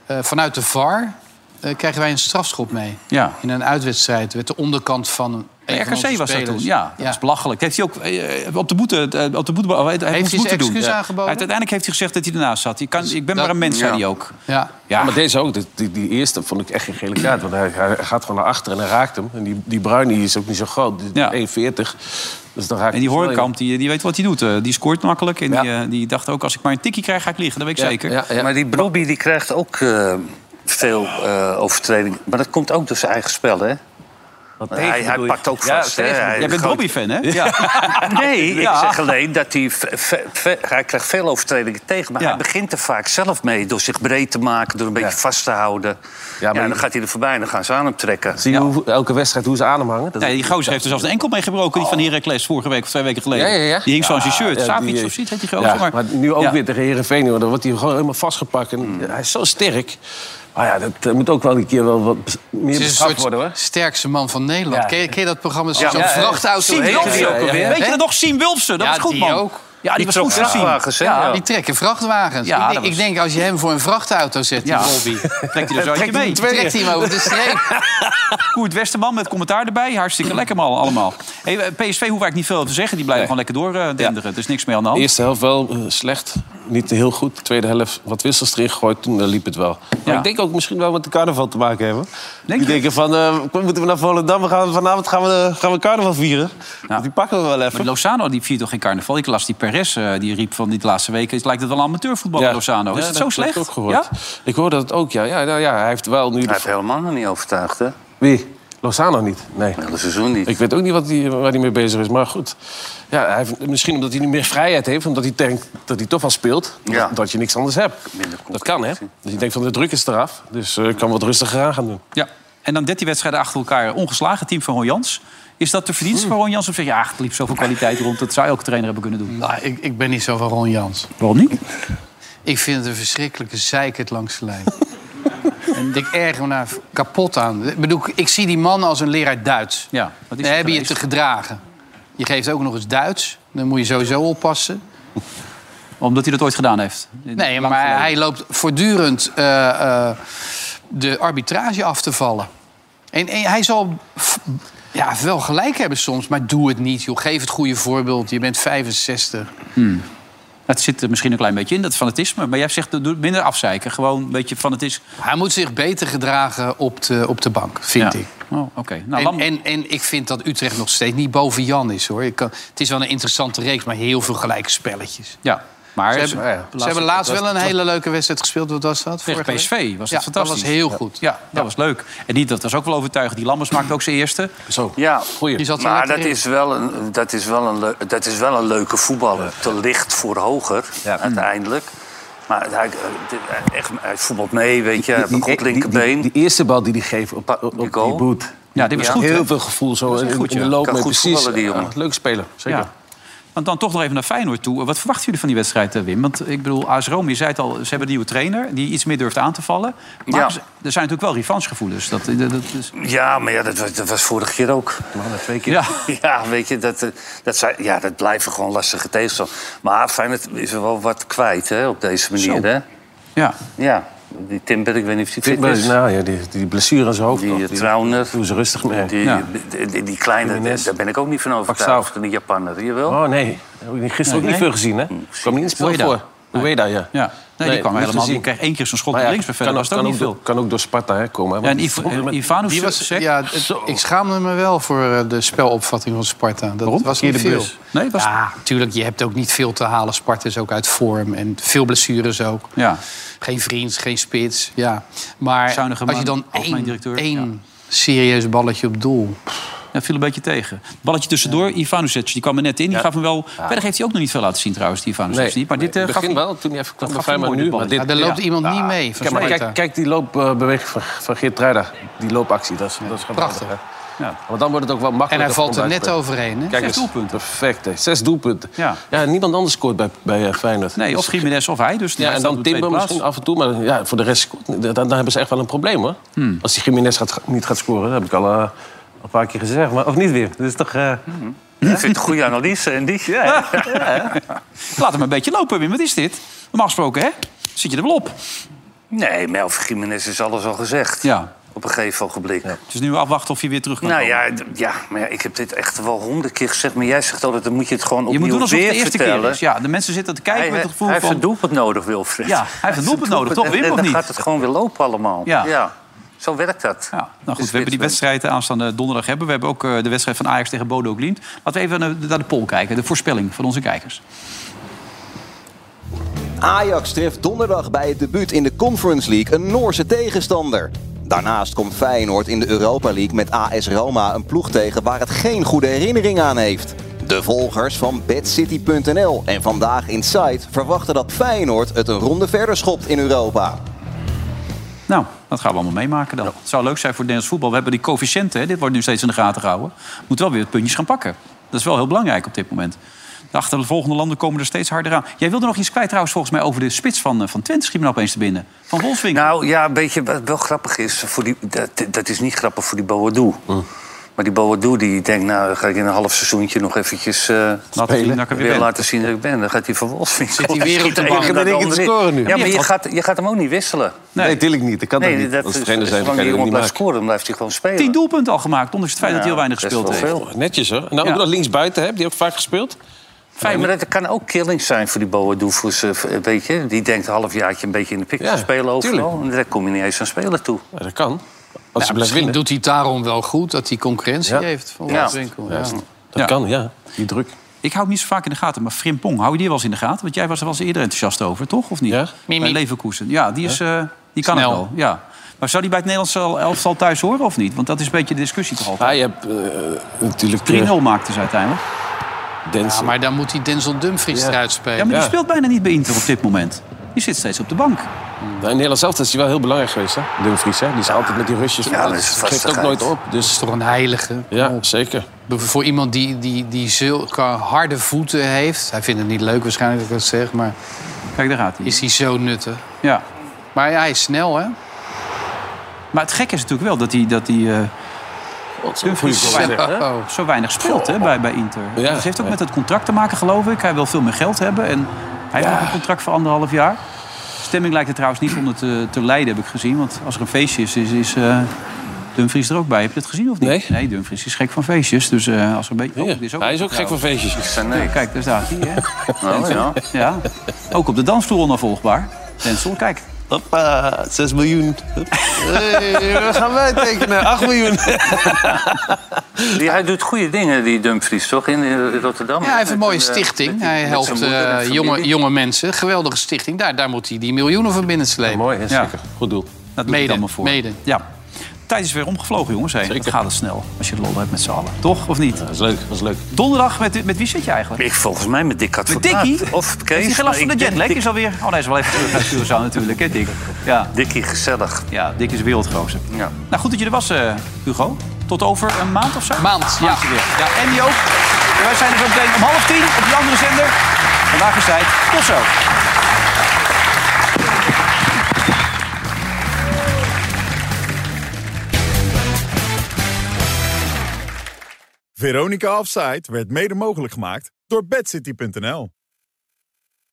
Eh, vanuit de VAR. eh, krijgen wij een strafschop mee.
Ja.
In een uitwedstrijd werd de onderkant van een van
RKC
onze
was dat
spelers-
toen, ja. Dat is belachelijk. Heeft hij ook eh, op de boete... eh, Op de boete hij heeft
hij zijn
moeten doen.
excuus
Ja.
aangeboden?
Hij- Uiteindelijk heeft hij gezegd dat hij ernaast zat. Je kan, ik ben
dat-
maar een mens, zei
ja.
hij ook.
Ja.
Ja,
Ah.
maar deze ook. Die, die, die eerste vond ik echt geen gele kaart. Want hij, hij gaat gewoon naar achteren en hij raakt hem. En die, die Bruine die is ook niet zo groot. Die 1,40. Dus dan raakt
En die
hij snel
Hoornkamp, die, die weet wat hij doet. eh, Die scoort makkelijk. En die, eh, die dacht ook, als ik maar een tikkie krijg, ga ik liggen. Dat weet ik zeker.
Maar die Brobbey die krijgt ook eh, veel eh overtreding. Maar dat komt ook door zijn eigen spel, hè?
tegen
Hij, hij
bedoel je?
pakt ook
Ja,
vast. hè?
tegen.
Hij
Jij bent
gooit-
Brobbey-fan, hè? Ja.
nee,
Ja.
ik zeg alleen dat hij... ve- ve- ve- hij krijgt veel overtredingen tegen. Maar hij begint er vaak zelf mee. Door zich breed te maken, door een beetje vast te houden. Ja, dan gaat hij er voorbij en dan gaan ze aan hem trekken.
in. Zie je hoe, elke wedstrijd hoe ze aan hem hangen? Dat
Nee, die gozer heeft er zelfs een enkel mee gebroken. Die van Heracles vorige week of twee weken geleden. Die hing zo aan zijn shirt.
Ja,
Savic
die-
of zoiets heet die gozer.
Ja, maar,
maar,
nu ook
Ja.
weer tegen Herenveen, hoor. Dan wordt hij gewoon helemaal vastgepakt. En, Hij is zo sterk. Maar ja, dat eh, moet ook wel een keer wel wat bes- meer
Het is een
bestraft
soort
worden, hoor.
sterkste man van Nederland.
Ja.
Ken, je, ken je dat programma?
Ja,
Zo'n
ja, ja.
vrachtauto.
Siem
heette
Wilfsen
die
ook alweer.
hè?
Weet je dat nog? Siem Wilfsen, dat
Ja,
was goed,
die
man.
ook.
Ja, die was
trok
goed, hè, Siem.
vrachtwagens, hè?
Ja.
Ja, Die trekken vrachtwagens.
Ja,
ik, denk,
dat was-
ik denk, als je hem voor een vrachtauto zet, die
Ja.
Bobby...
Trekt hij er zo eentje mee.
Trekt hij hem over de streep.
Koert Westerman met commentaar erbij. Hartstikke lekker man allemaal. Hey, eh, PSV hoef ik niet veel te zeggen. Die blijven gewoon lekker doordenderen. Er is niks meer aan de hand.
De eerste helft wel eh, slecht. Niet heel goed. De tweede helft wat wissels erin gegooid. Toen eh, liep het wel. Maar
Ja.
ik denk ook misschien wel met de carnaval te maken hebben. die denken van, eh, kom, moeten we naar Volendam? We gaan, vanavond gaan we, eh, gaan we carnaval vieren. Die pakken we wel even.
Maar Lozano die viert toch geen carnaval? Ik las die Perez, eh, die riep van die laatste weken... het lijkt het wel amateurvoetbal, Lozano. Is het
Ja, dat
zo
heb
slecht?
Ik, ook gehoord. ik hoor dat het ook, ja. ja, nou, ja hij heeft wel nu... Hij heeft
helemaal nog niet overtuigd, hè?
Wie? Lozano niet? Nee.
Het seizoen niet.
Ik weet ook niet wat die, waar hij mee bezig is, maar goed. Ja, hij heeft, misschien omdat hij nu meer vrijheid heeft, omdat hij denkt dat hij toch wel speelt.
Ja.
Dat, dat je niks anders hebt. Dat kan, hè? Dus je denkt van de druk is eraf, dus eh, ik kan wat rustiger aan gaan doen.
Ja. En dan 13 wedstrijden achter elkaar ongeslagen. Team van Ron Jans. Is dat de verdienste van Ron Jans? Of zeg je, ja, het liep zoveel kwaliteit rond. Dat zou elke trainer hebben kunnen doen.
Nou, ik, ik ben niet zo van Ron Jans.
Waarom niet?
Ik vind het een verschrikkelijke zeikert langs de lijn. en ik erger me daar kapot aan. Ik bedoel, ik zie die man als een leraar Duits.
Ja, wat is
Dan
het
heb je je
geweest?
te gedragen. Je geeft ook nog eens Duits. Dan moet je sowieso oppassen.
Omdat hij dat ooit gedaan heeft.
Nee, maar hij loopt voortdurend eh, eh, de arbitrage af te vallen. En, en hij zal f- ja, wel gelijk hebben soms, maar doe het niet. Joh. Geef het goede voorbeeld. Je bent 65.
Hmm. Het zit er misschien een klein beetje in, dat fanatisme. Maar jij zegt, doe het minder afzeiken. Gewoon een beetje fanatisme.
Hij moet zich beter gedragen op de, op de bank, vind ik.
Oh, Oké. Nou,
en, en, en ik vind dat Utrecht nog steeds niet boven Jan is, hoor. Ik kan, het is wel een interessante reeks, maar heel veel gelijke spelletjes.
Ja, maar oh
ze hebben,
ja,
ze hebben laatst wel een hele leuke wedstrijd gespeeld. Wat was dat?
Tegen
Vorige week?
PSV was
ja,
dat fantastisch.
dat was heel
Ja.
goed.
Ja, dat was leuk. En die, dat was ook wel overtuigend. Die Lammers maakte ook zijn eerste.
Zo.
Ja,
Die zat er
maar
lekker
dat
in.
is, wel een, dat, is wel een, leu- dat is wel een leuke voetballer. Te licht voor hoger,
Hmm.
uiteindelijk. Maar hij, eh, echt, hij voetbalt mee, weet je. Hij heeft een goed eh, linkerbeen.
Die, die eerste bal die hij geeft op, op, op die, boot.
Ja, dit was goed,
Heel
hè?
veel gevoel zo
Dat was
in,
echt goed,
in de
ja.
loop.
Kan
mee,
goed
precies.
voetballen, die jongen.
Ja, leuk speler, zeker.
Ja. Want dan toch nog even naar Feyenoord toe. Wat verwachten jullie van die wedstrijd, eh, Wim? Want ik bedoel, AS Rome, je zei het al, ze hebben een nieuwe trainer... die iets meer durft aan te vallen. Maar
Ja.
ze- er zijn natuurlijk wel revanchegevoelens. Dat, dat, dat is...
Ja, maar ja, dat, was- dat was vorige keer ook.
twee keer. Ja.
Ja, weet je, dat, eh, dat, zijn, ja, dat blijven gewoon lastige tegenstanders. Maar Feyenoord is er wel wat kwijt hè, op deze manier.
Zo.
Hè?
Ja.
ja, die Timber, ik weet niet of die fit
Timber,
is.
nou Oh, ja, die, die blessure aan zijn hoofd.
Die,
nog,
eh, Trauner.
Doe ze rustig mee.
Die, eh,
Ja.
die, die- die kleine, daar ben ik ook niet van overtuigd. Die Japaner, hier wel?
Oh nee, daar heb ik gisteren ook niet
Nee.
veel gezien, hè? Kwam niet in het spel
Ueda.
voor. Ueda, ja.
Ja. Nee, die kwam helemaal niet. Die kreeg één keer zo'n schot op links. Maar verder was het ook niet veel.
Door, kan ook door Sparta hè, komen. Hè?
Ja, en
Want-
Iv- eh, Ivanus,
Die was,
zeg?
ja, het- ik schaamde me wel voor eh, de spelopvatting van Sparta. Dat was niet
Verkeerde
veel.
bus. Nee, was-
Ja, natuurlijk, je hebt ook niet veel te halen. Sparta is ook uit vorm en veel blessures ook.
Ja.
Geen vriend, geen spits. Ja. Maar
Zuinige
als je
man,
dan
algemeen
één,
directeur,
één serieus balletje op doel...
Dat viel een beetje tegen. Balletje tussendoor, Ivanusic, die kwam er net in. Die
Ja.
gaf hem wel... Verder heeft hij ook nog niet veel laten zien trouwens, die Ivanusic.
Nee,
niet. Maar dit eh,
nee,
gaf
begin
hem-
wel, toen hij even kwam
dat
bij
gaf hem
Feyenoord
mooi,
nu.
dit
Maar
balletje.
dit,
Ja, daar loopt iemand niet
Ah,
mee,
Kijk,
van
maar
Sparta.
kijk, kijk die loopbeweging van, van Geert Truida. Die loopactie, dat is, dat is geweldig,
Prachtig.
hè. Want dan wordt het ook wel makkelijker.
En hij valt
om
er
bij
net
te spelen.
overheen, hè?
eh, Kijk
Zes
eens, Perfect, hè. Zes doelpunten. Ja. niemand anders scoort bij, bij eh, Feyenoord.
Nee, of
Dus-
Jiménez of hij. Dus die
ja, en
staat op
dan
de tweede
Timber
plaats.
misschien af en toe. Maar ja, voor de rest dan, dan hebben ze echt wel een probleem, hoor.
Hmm.
Als die Jiménez gaat, niet gaat scoren, dat heb ik al eh, een paar keer gezegd. Maar, of niet weer? Dat is toch... eh,
Ik vind het een goede analyse. En die?
Laat hem een beetje lopen, Wim. Wat is dit? Normaal gesproken, hè? Zit je er wel op?
Nee, maar over Gimenez is alles al gezegd.
Ja.
Op een gegeven ogenblik.
Dus nu afwachten of je weer terug kan
Nou
komen.
ja, d- ja, maar ja, ik heb dit echt wel honderd keer gezegd. Maar jij zegt altijd, dan moet je het gewoon
je
opnieuw
moet doen alsof het
weer
de eerste
vertellen.
keer is. Ja, de mensen zitten te kijken
Hij,
met het gevoel
hij
van...
heeft een doelpunt nodig, Wilfred.
Ja, hij heeft een doelpunt nodig, toch, Wim,
en
of
dan
niet?
gaat het gewoon weer lopen allemaal.
Ja.
Zo werkt dat. Dus
Nou goed, we hebben die wedstrijd aanstaande donderdag hebben. We hebben ook eh, de wedstrijd van Ajax tegen Bodo Glimt. Laten we even naar de- naar de poll kijken, de voorspelling van onze kijkers.
Ajax treft donderdag bij het debuut in de Conference League een Noorse tegenstander. Daarnaast komt Feyenoord in de Europa League met AS Roma een ploeg tegen waar het geen goede herinnering aan heeft. De volgers van BadCity.nl en Vandaag Inside verwachten dat Feyenoord het een ronde verder schopt in Europa.
Nou, dat gaan we allemaal meemaken dan. Het zou leuk zijn voor het Nederlands voetbal. We hebben die coëfficiënten, hè. dit wordt nu steeds in de gaten gehouden. Moet wel weer het puntjes gaan pakken. Dat is wel heel belangrijk op dit moment. De achtervolgende landen komen er steeds harder aan. Jij wilde nog iets kwijt trouwens volgens mij over de spits van, eh, van Twente. Schiet me nou opeens te binnen. Van Wolfswinkel.
Nou ja, een beetje wat wel grappig is, voor die, dat, dat is niet grappig voor die Boadu.
Hm.
Maar die Boadu die denkt, nou dan ga ik in een half seizoentje nog eventjes eh,
zien dat ik er weer
weer
ben.
laten zien dat ik ben. Dan gaat hij van Wolfswinkel.
Zit hij weer op de
schieten
bank.
een
Ik
naar
ben
de
ik aan het
andere in.
scoren nu.
Ja, maar
Die
je
heeft
gaat, je gaat hem ook niet wisselen.
Nee,
natuurlijk niet. Dat kan
ook niet. Als
is,
trainer zijn,
zolang
kan je dat
die jongen
niet
blijft
maken.
scoren, dan blijft hij gewoon spelen.
Tien doelpunten al gemaakt, ondanks het feit dat hij
Ja,
heel weinig
best
gespeeld
wel
heeft.
veel.
Netjes hoor. En ook
Ja.
dat linksbuiten heb, die ook vaak gespeeld.
Ja, maar dat kan ook killing zijn voor die eh, Boadu. voor ze- Weet je, die denkt een halfjaartje een beetje in de pik te spelen overal. En daar kom je niet eens aan spelen toe.
dat kan.
blijft
Ja, misschien
winnen.
doet hij het daarom wel goed dat hij concurrentie heeft van
Ja.
Wolfswinkel. Ja.
Dat kan, ja. Die druk.
Ik hou hem niet zo vaak in de gaten, maar Frimpong, hou je die wel eens in de gaten? Want jij was er wel eens eerder enthousiast over, toch? Of niet? Ja? Bij Leverkusen. Ja, die, is, eh, die kan
Snel.
het wel. Ja. Maar zou die bij het Nederlandse elftal thuis horen of niet? Want dat is een beetje de discussie toch altijd.
Hij Ah, hebt eh, natuurlijk...
3-0 maakte ze uiteindelijk.
Ja, maar dan moet hij Denzel Dumfries eruit spelen.
Ja, maar die speelt bijna niet bij Inter op dit moment. Die zit steeds op de bank.
Nou, in Nederland zelf is hij wel heel belangrijk geweest, hè? Dumfries, hè? Die is altijd met die Rusjes.
Ja, dat is
geeft ook
vastigheid.
nooit op.
Dus is toch Oh, een heilige.
Ja, zeker.
Voor iemand die, die, die zulke harde voeten heeft. Hij vindt het niet leuk waarschijnlijk dat ik dat zeg, maar.
Kijk, daar gaat hij.
Is hij zo nuttig?
Ja.
Maar ja, hij is snel, hè?
Maar het gekke is natuurlijk wel dat hij... Dat hij eh, Dumfries zo
goede
weinig,
goal,
hè? zo weinig speelt hè, bij, bij Inter.
Ja,
dat heeft ook
ja.
met het contract te maken, geloof ik. Hij wil veel meer geld hebben. En hij heeft nog een contract voor anderhalf jaar. Stemming lijkt er trouwens niet onder te, te leiden, heb ik gezien. Want als er een feestje is, is, is eh, Dumfries er ook bij. Heb je het gezien of niet? Nee, Dumfries is gek van feestjes. Dus eh, als er een beetje... Oh, dit
Hij is ook gek van
trouwens.
feestjes.
Ja, kijk, daar staat hij. Hè?
Nou, ja.
Ja. Ook op de dansvloer onafvolgbaar. Denzel, kijk.
Hoppa, 6 miljoen.
Hey,
wat gaan wij tekenen? 8 miljoen.
Die, hij doet goede dingen, die Dumfries, toch? In eh, Rotterdam.
Ja, hij heeft een
Met
mooie
een, eh,
stichting.
met die-
Hij
met zijn
helpt
moeder en
eh,
familie.
jonge, jonge mensen. Geweldige stichting. Daar, daar moet hij die miljoenen van binnen slepen. mooi,
Ja. zeker.
Goed doel.
Dat doe ik
Mede,
allemaal voor.
mede.
Ja. Tijd is weer omgevlogen, jongens. Hey, dat gaat het snel als je het lol hebt met z'n allen. Toch, of niet? Dat is leuk, dat is leuk. Donderdag, met, met wie zit je eigenlijk?
Ik volgens mij met Dick
Met
Advocaat.
Dikkie?
Of Kees.
Heeft hij geen last van
maar
de
ik denk
jetlag?
Dick-
Is alweer... Oh nee, is wel even terug naar Curaçao natuurlijk, hè Dick? Ja.
Dikkie, gezellig.
Ja, Dick is wereldgozer.
Ja.
Nou, goed dat je er was, eh, Hugo. Tot over een maand of zo?
Maand, ja.
Maandje weer. Ja, en die ook. En wij zijn er zo meteen om half tien op die andere zender. Vandaag is tijd. Tot zo.
Veronica Offside werd mede mogelijk gemaakt door bedcity.nl.